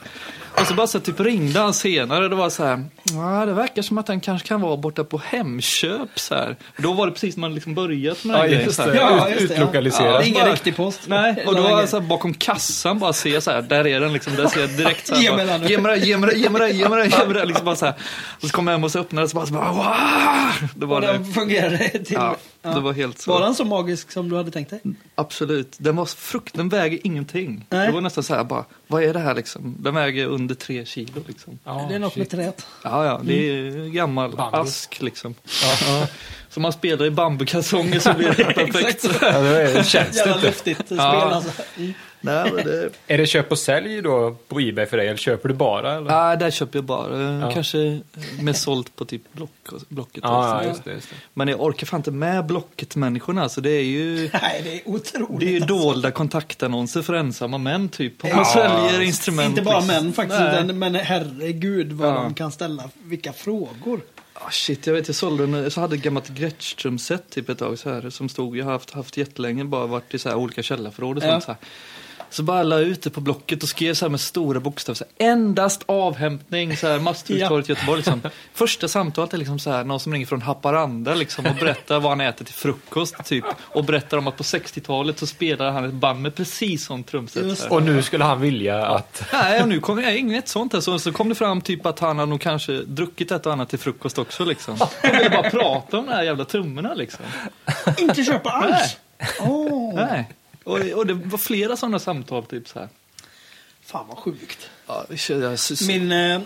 Speaker 5: Och så bara så här, typ ringde han senare och det var så här, "Ja, det verkar som att den kanske kan vara borta på Hemköp så här. Då var det precis när man liksom börjat med den här grejen. så här.
Speaker 6: Ja,
Speaker 2: Ut-
Speaker 6: just
Speaker 5: Ja,
Speaker 6: det, ja. det.
Speaker 2: Utlokaliserat.
Speaker 6: Det är ingen
Speaker 5: bara-
Speaker 6: riktig post.
Speaker 5: Nej, och då
Speaker 6: Det var
Speaker 5: var alltså-
Speaker 6: ingen-
Speaker 5: jag så här bakom kassan bara ser jag så här, där är den liksom, där ser jag direkt så här,
Speaker 6: Ge
Speaker 5: bara,
Speaker 6: mig den.
Speaker 5: ge mig den, ge mig den, ge mig den, ge mig den, ge mig den, liksom bara så här. Och så kom jag hem och så öppnade jag och så bara, så bara wow! Det var
Speaker 6: Och
Speaker 5: det.
Speaker 6: den fungerade till...
Speaker 5: Ja,
Speaker 6: Ja.
Speaker 5: det var helt så.
Speaker 6: Var den så magisk som du hade tänkt dig?
Speaker 5: Absolut. Den var frukt, den väger ingenting.
Speaker 6: Nej.
Speaker 5: Det var nästan så här bara, vad är det här liksom? Den väger under tre kilo liksom.
Speaker 2: Ja,
Speaker 6: det är något
Speaker 2: shit.
Speaker 6: med trät.
Speaker 5: Ja, ja, det är ju
Speaker 6: Mm.
Speaker 5: gammal
Speaker 2: Bambu.
Speaker 5: ask liksom. Ja. [laughs] Så man spelar i bambukalsonger så blir
Speaker 2: [laughs]
Speaker 5: det perfekt.
Speaker 2: Ja, det är- det känns
Speaker 6: Jävla
Speaker 2: inte.
Speaker 6: luftigt spel
Speaker 5: Ja.
Speaker 6: alltså. Mm.
Speaker 5: [laughs] Nej, men det...
Speaker 2: Är det köp och sälj då på Ebay för dig eller köper du bara? Eller?
Speaker 5: Nej, där köper jag bara. eh,
Speaker 2: Ja.
Speaker 5: Kanske med sålt på typ block, och- Blocket. och
Speaker 2: ja,
Speaker 5: sånt
Speaker 2: ja,
Speaker 5: där.
Speaker 2: just det. Just det.
Speaker 5: Men jag orkar fan inte med Blocket-människorna. Så det är
Speaker 6: [laughs]
Speaker 5: ju...
Speaker 6: Nej, det är otroligt.
Speaker 5: Det är ju
Speaker 6: alltså.
Speaker 5: dolda kontaktannonser för ensamma män typ. Om man
Speaker 6: Ja.
Speaker 5: säljer instrument.
Speaker 6: Inte bara
Speaker 5: liksom.
Speaker 6: män faktiskt,
Speaker 5: Nej.
Speaker 6: utan, men herregud vad
Speaker 5: Ja.
Speaker 6: de kan ställa, vilka frågor.
Speaker 5: Ah, shit, jag vet jag sålde en, så hade ett gammalt Gretström-set typ ett tag så här som stod, jag har haft, haft jättelänge bara varit i så här olika källarförråd och
Speaker 6: Ja.
Speaker 5: sånt så här. Så bara la ut det på Blocket och skrev så här med stora bokstäver så här, endast avhämtning så här Masthuggstorget i Göteborg liksom. Första samtalet är liksom så här någon som ringer från Haparanda liksom och berättar vad han äter till frukost typ och berättar om att på 60-talet så spelade han ett band med precis sånt trumset. så här.
Speaker 2: Och nu skulle han vilja att...
Speaker 5: Nej, och nu kom jag inget sånt. här. Så, så kom det fram typ att han har nog kanske druckit ett och annat till frukost också liksom. Jag ville bara prata om de här jävla trummorna liksom.
Speaker 6: Inte köpa alls! Åh,
Speaker 5: Nej. Och, och det var flera sådana samtal typ så här.
Speaker 6: fan vad sjukt.
Speaker 5: Ja, jag syns...
Speaker 6: Min, eh,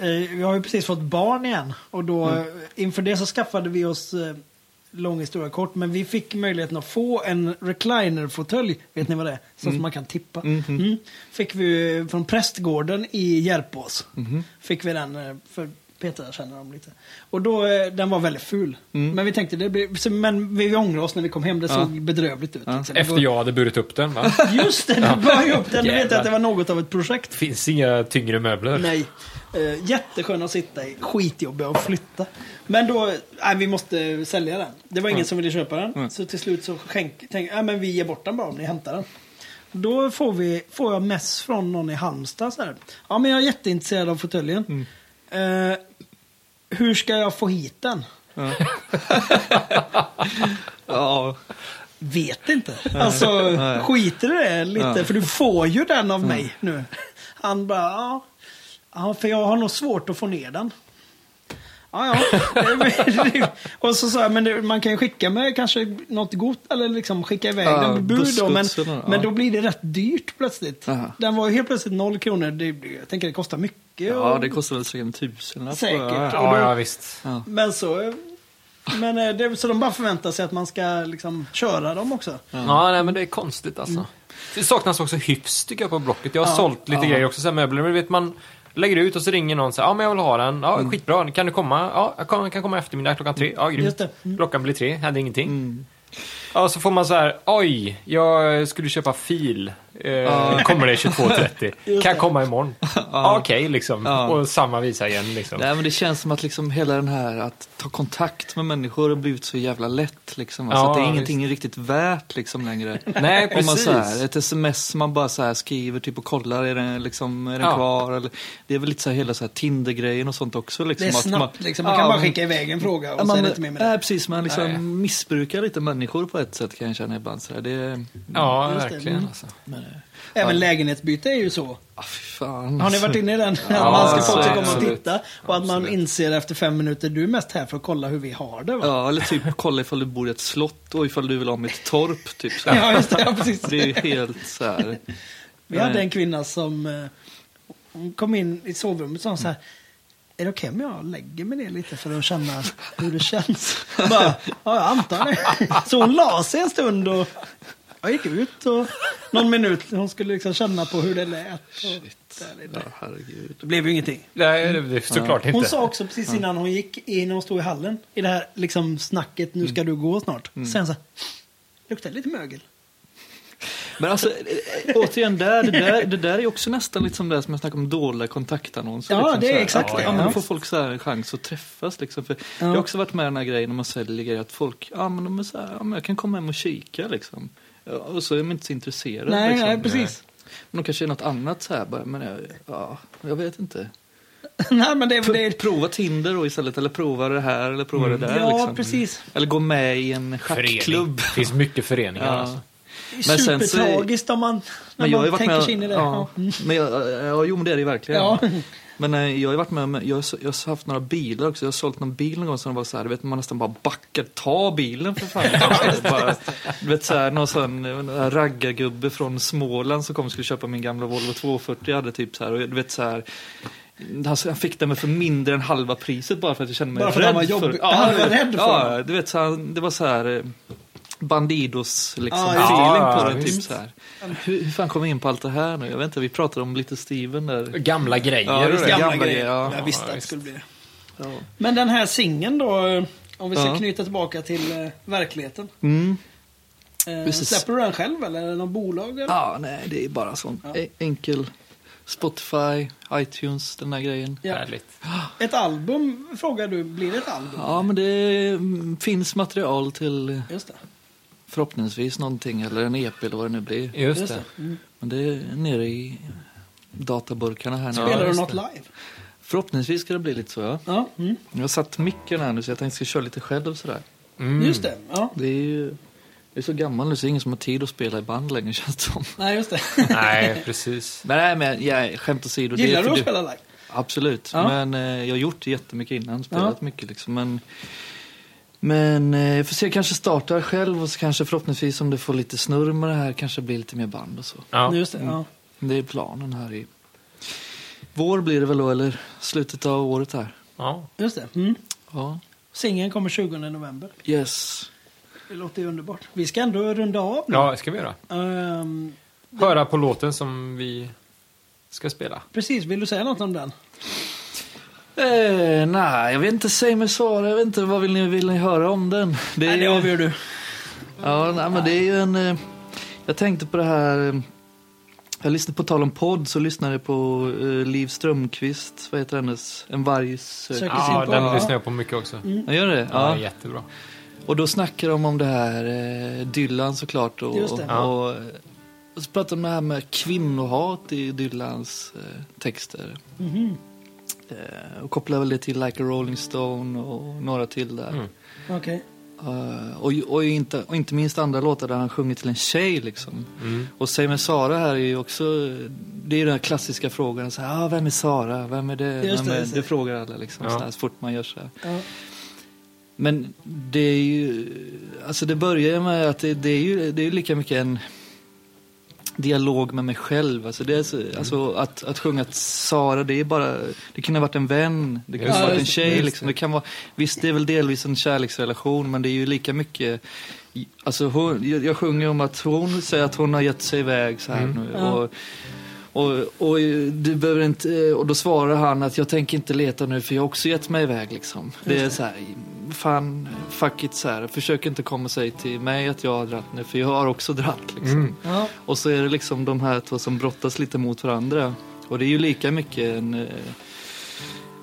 Speaker 6: eh, jag har ju precis fått barn igen och då eh, inför det så skaffade vi oss, eh, lång historia kort, men vi fick möjligheten att få en recliner-fåtölj, vet ni vad det är? Sånt som man kan tippa.
Speaker 5: Mm-hmm.
Speaker 6: Mm. Fick vi eh, från prästgården i Järpås. Fick vi den eh, för Peter känner dem lite. Och då, eh, den var väldigt ful. Men vi tänkte, det blir, så- men vi ångrade oss när vi kom hem, det såg bedrövligt ut. liksom. Det
Speaker 2: Efter
Speaker 6: var-
Speaker 2: jag hade burit upp den va?
Speaker 6: Just det, du bar ju upp den, du vet
Speaker 2: Jävlar.
Speaker 6: att det var något av ett projekt.
Speaker 2: Finns inga tyngre möbler.
Speaker 6: Nej. Eh, jätteskön att sitta i, skitjobbig att flytta. Men då, nej vi måste sälja den. Det var ingen
Speaker 3: Mm.
Speaker 6: som ville köpa den. Så till slut så skänk, tänk, nej men vi ger bort den bara om ni hämtar den. Då får, vi, får jag mess från någon i Halmstad så här. Ja men jag är jätteintresserad av fåtöljen. Eh, hur ska jag få hit den?
Speaker 5: Ja,
Speaker 6: Vet inte. Alltså, skiter i det lite. För du får ju den
Speaker 3: Mm.
Speaker 6: av mig nu. Han bara, ja. ja. För jag har nog svårt att få ner den. Ja, ja. [laughs] och så sa jag, men det, man kan ju skicka med kanske något gott eller liksom skicka iväg
Speaker 5: Ja,
Speaker 6: den på bud då. Men,
Speaker 5: bussgodsen, ja.
Speaker 6: men då blir det rätt dyrt plötsligt.
Speaker 5: Aha.
Speaker 6: Den var ju helt plötsligt noll kronor. Det, jag tänker det kostar mycket.
Speaker 5: Ja,
Speaker 6: och-
Speaker 5: det kostar väl säkert en tusenlapp.
Speaker 6: Säkert.
Speaker 5: Ja,
Speaker 2: Ja, ja visst.
Speaker 6: Men så... eh, Men eh, det, så de bara förväntar sig att man ska liksom köra dem också.
Speaker 2: Ja, nej, men det är konstigt alltså. Det saknas också hyfs tycker jag på Blocket. Jag har sålt lite grejer också, så här möbler. Men du vet, man lägger ut och så ringer någon och säger ja, men jag vill ha den. Ja,
Speaker 6: Mm.
Speaker 2: skitbra. Kan du komma? Ja, jag kan, kan komma i eftermiddag klockan tre. Ja,
Speaker 6: Just
Speaker 2: grymt.
Speaker 6: det. Mm.
Speaker 2: Klockan blir tre, händer ingenting. Ja, så får man så här, oj, jag skulle köpa fil. Eh, Kommer
Speaker 6: [laughs]
Speaker 2: det 22.30? kan jag komma imorgon? ja, okej, liksom.
Speaker 5: Ja.
Speaker 2: Och samma visa igen, liksom.
Speaker 5: Nej, men det känns som att liksom hela den här att ta kontakt med människor har blivit så jävla lätt. Liksom. Alltså
Speaker 2: Ja,
Speaker 5: att det är ingenting riktigt värt liksom, längre.
Speaker 2: [laughs] Nej,
Speaker 5: Om man
Speaker 2: precis.
Speaker 5: så här, ett sms man bara så här skriver typ och kollar, är den, liksom, är den
Speaker 2: Ja.
Speaker 5: kvar? Eller, det är väl lite så här hela så här Tinder-grejen och sånt också. Liksom,
Speaker 6: Det är
Speaker 5: att
Speaker 6: snabbt liksom. Man
Speaker 5: Ja,
Speaker 6: kan bara
Speaker 5: men-
Speaker 6: skicka iväg en fråga
Speaker 5: Ja,
Speaker 6: och
Speaker 5: man,
Speaker 6: så är det inte mer med det.
Speaker 5: nej, precis, man liksom
Speaker 2: Nej.
Speaker 5: missbrukar lite människor på ett sätt kan jag känna ibland. Så här. Det,
Speaker 2: Ja,
Speaker 6: Just det.
Speaker 2: verkligen.
Speaker 6: Mm.
Speaker 2: Alltså.
Speaker 6: Även lägenhetsbyte är ju så.
Speaker 5: ah, fy fan.
Speaker 6: Har ni varit inne i den? att man ska
Speaker 2: så
Speaker 6: folk
Speaker 2: är
Speaker 6: ska
Speaker 2: det.
Speaker 6: komma och
Speaker 2: Absolut.
Speaker 6: titta. Och att man inser efter fem minuter, du är mest här för att kolla hur vi har det va?
Speaker 5: Ja, eller typ kolla ifall du bor i ett slott och ifall du vill ha mitt torp. Typ, så här.
Speaker 6: Ja, just det. Ja, precis.
Speaker 5: Det är ju helt så här.
Speaker 6: Vi hade en kvinna som eh, hon kom in i sovrummet och sa så här. Är det okej om jag lägger mig ner lite för att känna hur det känns? Bara, ja, jag antar det. Så hon la sig en stund och jag gick ut och någon minut. Hon skulle liksom känna på hur det lät. Och där,
Speaker 5: Ja,
Speaker 6: där.
Speaker 5: herregud.
Speaker 6: Det blev ju ingenting.
Speaker 2: Nej, det- det, såklart inte.
Speaker 6: Hon sa också precis innan hon gick, i- när hon stod i hallen, i det här liksom snacket, nu
Speaker 5: Mm.
Speaker 6: ska du gå snart. Sen så här, luktar det lite mögel.
Speaker 5: Men alltså, eh, återigen, där, det, där, det där är också nästan lite som det här som jag snackade om dåliga kontaktannonser.
Speaker 6: Ja,
Speaker 5: liksom,
Speaker 6: det är
Speaker 5: så här.
Speaker 6: exakt
Speaker 5: ja,
Speaker 6: det.
Speaker 5: Ja, men
Speaker 6: Ja,
Speaker 5: då får
Speaker 6: visst.
Speaker 5: folk så här en chans att träffas. Liksom. För Jag har också varit med i den här grejen när man säljer grejer, att folk, ja men de är så här, ja, men jag kan komma hem och kika liksom. Ja, Och så är de inte så intresserade.
Speaker 6: Nej,
Speaker 5: liksom.
Speaker 6: nej, precis.
Speaker 5: Men de kanske är något annat så här bara, men jag, ja, jag vet inte.
Speaker 6: [laughs] Nej, men det,
Speaker 5: P-
Speaker 6: det
Speaker 5: prova Tinder då istället, eller prova det här, eller prova det där.
Speaker 6: Mm. Ja,
Speaker 5: liksom.
Speaker 6: precis.
Speaker 5: Eller gå med i en
Speaker 2: Förening.
Speaker 5: schackklubb.
Speaker 2: Det finns mycket föreningar.
Speaker 5: Ja.
Speaker 2: Alltså.
Speaker 5: Men sen så-
Speaker 6: Supertragiskt om man, när
Speaker 5: Men jag har ju varit
Speaker 6: man tänker
Speaker 5: med,
Speaker 6: sig in i det.
Speaker 5: Ja,
Speaker 6: Ja.
Speaker 5: men jag, ja, jo men det är det verkligen.
Speaker 6: Ja.
Speaker 5: Men eh, jag har ju varit med, om- jag har, jag har haft några bilar också. Jag har sålt någon bil någon gång som var så här, du vet man nästan bara backar, ta bilen för
Speaker 6: [laughs]
Speaker 5: fan. Alltså, bara, du vet så här, någon sån eh, någon här raggargubbe från Småland som kom och skulle köpa min gamla Volvo 240. Jag hade typ så här, och du vet så här. Han han fick den med för mindre än halva priset bara för att jag kände mig
Speaker 6: Bara för att
Speaker 5: rädd
Speaker 6: han var
Speaker 5: för
Speaker 6: jobbig. Han var
Speaker 5: du vet-
Speaker 6: [laughs] rädd för
Speaker 5: Ja, du vet så här, det var så här eh, Bandidos liksom,
Speaker 6: Ja, just det.
Speaker 5: feeling
Speaker 2: Ja,
Speaker 5: på den. Typ,
Speaker 2: visst.
Speaker 5: så här. Hur, hur fan kom vi in på allt det här nu? Jag vet inte, vi pratade om lite Steven där.
Speaker 2: Gamla grejer.
Speaker 5: Ja, just det.
Speaker 6: Gamla,
Speaker 5: Gamla
Speaker 6: grejer.
Speaker 5: grejer, ja.
Speaker 6: Jag
Speaker 2: Ja,
Speaker 6: visste att det
Speaker 2: visst.
Speaker 6: skulle bli det.
Speaker 5: Ja.
Speaker 6: Men den här singeln då, eh, om vi ska
Speaker 5: Ja.
Speaker 6: knyta tillbaka till eh, verkligheten.
Speaker 5: Mm.
Speaker 6: Eh,
Speaker 5: Precis.
Speaker 6: släpper du den själv eller är det någon bolag? Eller?
Speaker 5: Ja, nej, det är bara sån e- enkel Spotify, iTunes, den där grejen.
Speaker 6: Ja.
Speaker 2: Härligt.
Speaker 6: Ett album frågar du, blir det ett album?
Speaker 5: Ja, men det mm, finns material till
Speaker 6: Just det.
Speaker 5: förhoppningsvis någonting eller en EP eller vad det nu blir.
Speaker 2: Just,
Speaker 6: Just
Speaker 2: det.
Speaker 5: Men det är nere i databurkarna här nu.
Speaker 6: Spelar du
Speaker 2: just
Speaker 6: något
Speaker 2: det.
Speaker 6: live?
Speaker 5: Förhoppningsvis ska det bli lite så, ja.
Speaker 6: Ja, mm.
Speaker 5: Jag har satt micken här nu så jag tänkte ska köra lite själv sådär. Mm.
Speaker 6: just det. Ja.
Speaker 5: Det är ju... Jag är så gammal nu så det är ingen som har tid att spela i band längre [laughs] känns det som.
Speaker 6: Nej, just det. [laughs]
Speaker 2: Nej, precis.
Speaker 5: Men Nej, men jag, skämt åsido. det är
Speaker 6: Gillar
Speaker 5: för
Speaker 6: du att
Speaker 5: du-
Speaker 6: spela live?
Speaker 5: Absolut,
Speaker 6: Ja.
Speaker 5: men eh, jag har gjort det jättemycket innan, spelat mycket liksom. Men, men eh, jag får se, jag kanske startar själv och så kanske förhoppningsvis om det får lite snurr med det här kanske blir lite mer band och så.
Speaker 2: Ja.
Speaker 6: Just det, ja.
Speaker 5: Det är planen här i vår blir det väl då, eller slutet av året här.
Speaker 2: Ja.
Speaker 6: Just det. Mm.
Speaker 5: Ja,
Speaker 6: Singeln kommer 20 november.
Speaker 5: yes.
Speaker 6: Det låter ju underbart. Vi ska ändå runda av nu.
Speaker 2: ja, det ska vi göra.
Speaker 6: Ehm,
Speaker 2: Höra på låten som vi ska spela.
Speaker 6: precis, vill du säga något om den?
Speaker 5: Eh, nej, jag vet inte, säg mig svara, jag vet inte, vad vill ni, vill ni höra om den? Det
Speaker 6: Nej, det avgör du.
Speaker 5: Ja, nej, men det är ju en... eh, Jag tänkte på det här... eh, Jag lyssnade på tal om podd så lyssnade jag på eh, Liv Strömquist, vad heter hennes? En varg söker.
Speaker 6: Sök-
Speaker 2: Ja,
Speaker 6: sin
Speaker 2: den
Speaker 6: podd.
Speaker 2: lyssnar jag på mycket också.
Speaker 6: Mm.
Speaker 5: Ja, gör det?
Speaker 2: Ja,
Speaker 5: Ja.
Speaker 2: jättebra.
Speaker 5: Och då snackar de om det här eh, Dylan såklart och...
Speaker 6: Just det.
Speaker 2: Ja.
Speaker 5: Och, eh, och så pratar de om det här med kvinnohat i Dylans eh, texter.
Speaker 6: Mhm.
Speaker 5: Eh, och kopplar väl det till Like a Rolling Stone och några till där.
Speaker 6: Okej.
Speaker 5: Eh, och, och, inte, och inte minst andra låtar där han sjunger till en tjej liksom.
Speaker 6: Mm.
Speaker 5: Och Säg mig Sara här är ju också, det är ju den här klassiska frågan, så här, ah, vem är Sara, vem är det?
Speaker 6: Just det,
Speaker 5: vem är,
Speaker 6: just det.
Speaker 5: det frågar alla liksom,
Speaker 2: Ja.
Speaker 5: så, här, så fort man gör så här.
Speaker 6: Ja.
Speaker 5: Men det är ju, alltså det börjar ju med att det, det är ju det är ju lika mycket en dialog med mig själv. Alltså, det är så, alltså att, att sjunga att Sara, det är bara, det kan ha varit en vän, det kan
Speaker 2: Just
Speaker 5: ha varit
Speaker 6: det.
Speaker 5: en tjej.
Speaker 2: Just
Speaker 5: Liksom. Det kan vara, visst, det är väl delvis en kärleksrelation, men det är ju lika mycket Alltså hon, jag, jag sjunger om att hon säger att hon har gett sig iväg så här nu.
Speaker 6: Ja.
Speaker 5: Och, och, och, du behöver inte, och då svarar han att jag tänker inte leta nu för jag har också gett mig iväg liksom. Det är så här, fan, fuck it så här. Försök inte komma och säga till mig att jag har dratt nu för jag har också dratt liksom.
Speaker 6: Ja.
Speaker 5: Och så är det liksom de här två som brottas lite mot varandra. Och det är ju lika mycket en, eh,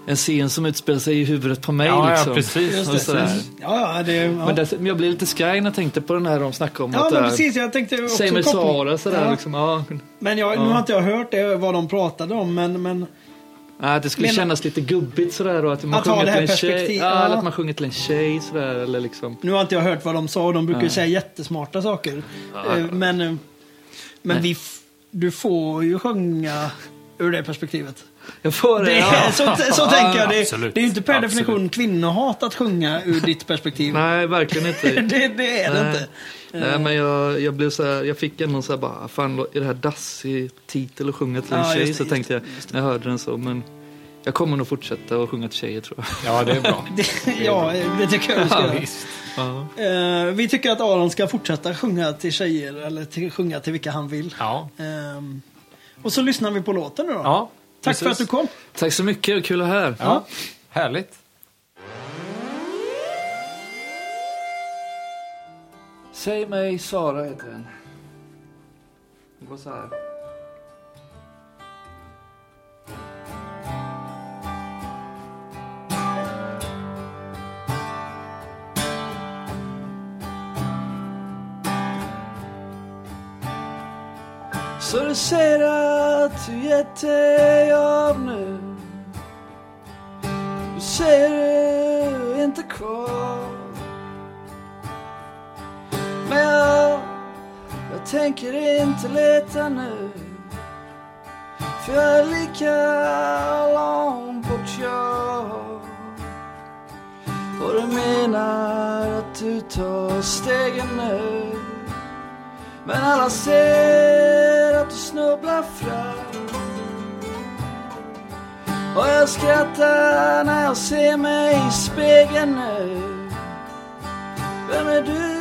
Speaker 5: en scen som utspelar sig i huvudet på mig
Speaker 2: ja,
Speaker 5: liksom.
Speaker 2: ja, precis.
Speaker 5: Och så här.
Speaker 6: Mm. Ja, ja, det, ja.
Speaker 5: Men dess- men jag blev lite skraj när jag tänkte på den här de snackade om.
Speaker 6: ja,
Speaker 5: att det
Speaker 6: men
Speaker 5: här-
Speaker 6: precis. Jag tänkte också
Speaker 5: Säg mig
Speaker 6: koppling.
Speaker 5: Sara sådär
Speaker 6: Ja.
Speaker 5: liksom. Ja.
Speaker 6: Men jag, nu har inte jag hört det, vad de pratade om, men, men
Speaker 5: Nej, det skulle
Speaker 6: Men-
Speaker 5: kännas lite gubbigt sådär och att man
Speaker 6: Att ha
Speaker 5: sjunger
Speaker 6: det
Speaker 5: till
Speaker 6: här
Speaker 5: en tjej.
Speaker 6: perspektiv-
Speaker 5: Ja,
Speaker 6: ja.
Speaker 5: Eller att man sjunger till en tjej sådär eller liksom.
Speaker 6: nu har inte jag hört vad de sa. och De brukar ju säga jättesmarta saker. Eh, Men, eh, men vi, f- du får ju sjunga ur det perspektivet.
Speaker 5: Jag får det.
Speaker 6: Det är,
Speaker 5: ja.
Speaker 6: [laughs] så, så tänker jag. Det,
Speaker 2: Absolut.
Speaker 6: det är ju inte per
Speaker 2: Absolut.
Speaker 6: definition kvinnohat att sjunga ur ditt perspektiv.
Speaker 5: Nej, verkligen inte.
Speaker 6: [laughs] det, det är det inte. Eh.
Speaker 5: Nej, men jag, jag blev så jag fick ändå så här bara, "Ah, fan lo- är det här dassig titel att sjunga till en
Speaker 6: Ja, just
Speaker 5: tjej?
Speaker 6: det,
Speaker 5: så
Speaker 6: just
Speaker 5: tänkte jag när jag hörde den så, men jag kommer nog fortsätta att sjunga till tjejer tror jag. [laughs]
Speaker 2: Ja, det är bra.
Speaker 6: Det, ja, det tycker jag vi ska göra.
Speaker 2: visst.
Speaker 5: Ja.
Speaker 6: Eh, vi tycker att Aron ska fortsätta sjunga till tjejer eller till, sjunga till vilka han vill.
Speaker 2: Ja.
Speaker 6: Ehm, och så lyssnar vi på låten nu då.
Speaker 2: ja
Speaker 6: Tack för att du kom.
Speaker 5: Tack så mycket, kul att vara här.
Speaker 2: Ja, härligt.
Speaker 5: Säg mig Sara heter den. Det går så här. Så du säger att du gett dig av nu. Du säger du är inte kvar. Men jag, jag tänker inte leta nu För jag är lika långt bort jag Och du menar att du tar stegen nu Men alla ser att du snubblar fram Och jag skrattar när jag ser mig i spegeln nu vem är du?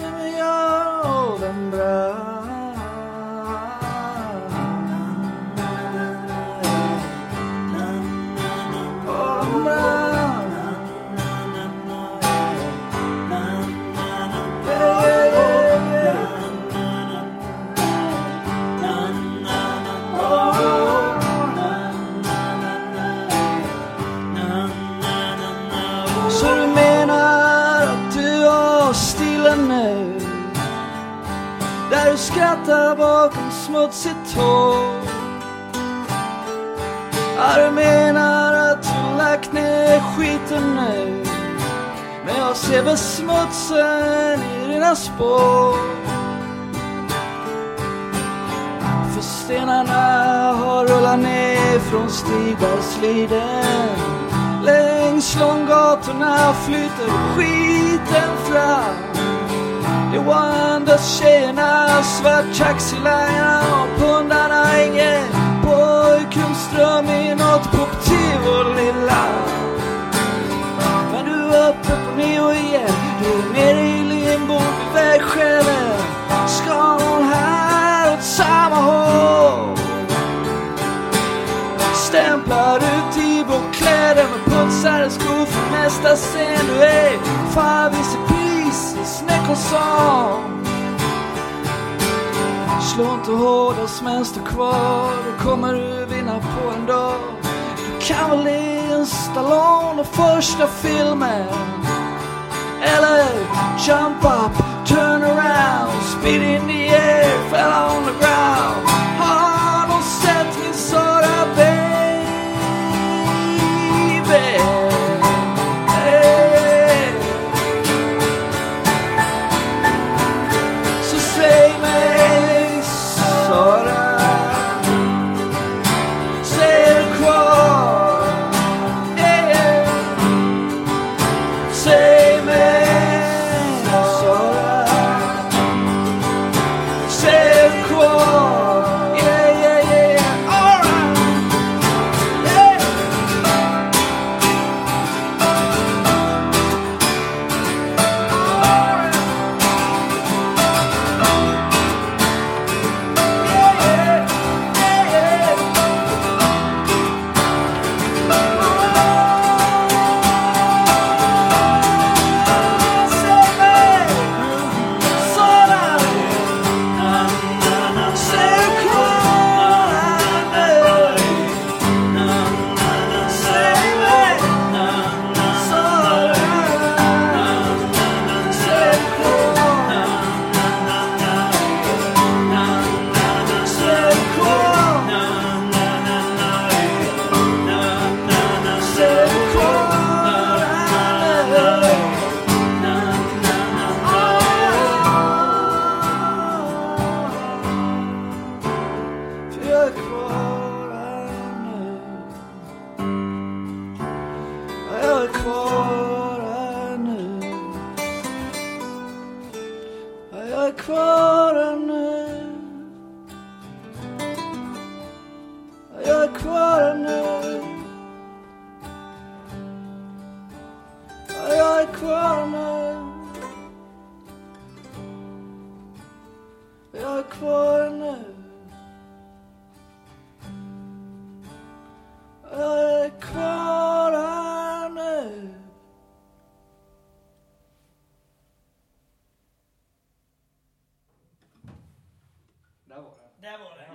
Speaker 5: Vem är jag? Och vem brann? Och vem brann? Yeah, yeah, yeah, yeah. Så du menar att du har stilla nu Där du skrattar bakom smutsigt hår Ja, du menar att du lagt ner skiten nu Men jag ser väl smutsen i dina spår För stenarna har rullat ner från Stigbergsliden Längs långgatorna flyter skiten fram Johan, tjejerna, svart taxilina och pundarna ingen pojkrumsdröm i något poptivoliland Men du är uppe på neo igen, du är nere i limbo vid vägskälen Ska hon här åt samma håll? Stämplar ut i kläder med putsade skor för nästa scen du är Farvis i pris i snäckosång Slå inte hårdast men stå kvar, det kommer du vinna på en dag Du kan väl le en Stallone och första filmen Eller jump up, turn around, spit in the air, fell on the ground Har du sett min Sara baby? Hey. alla kvarnar Jag är kvar nu Jag är kvar här nu
Speaker 7: Där var det.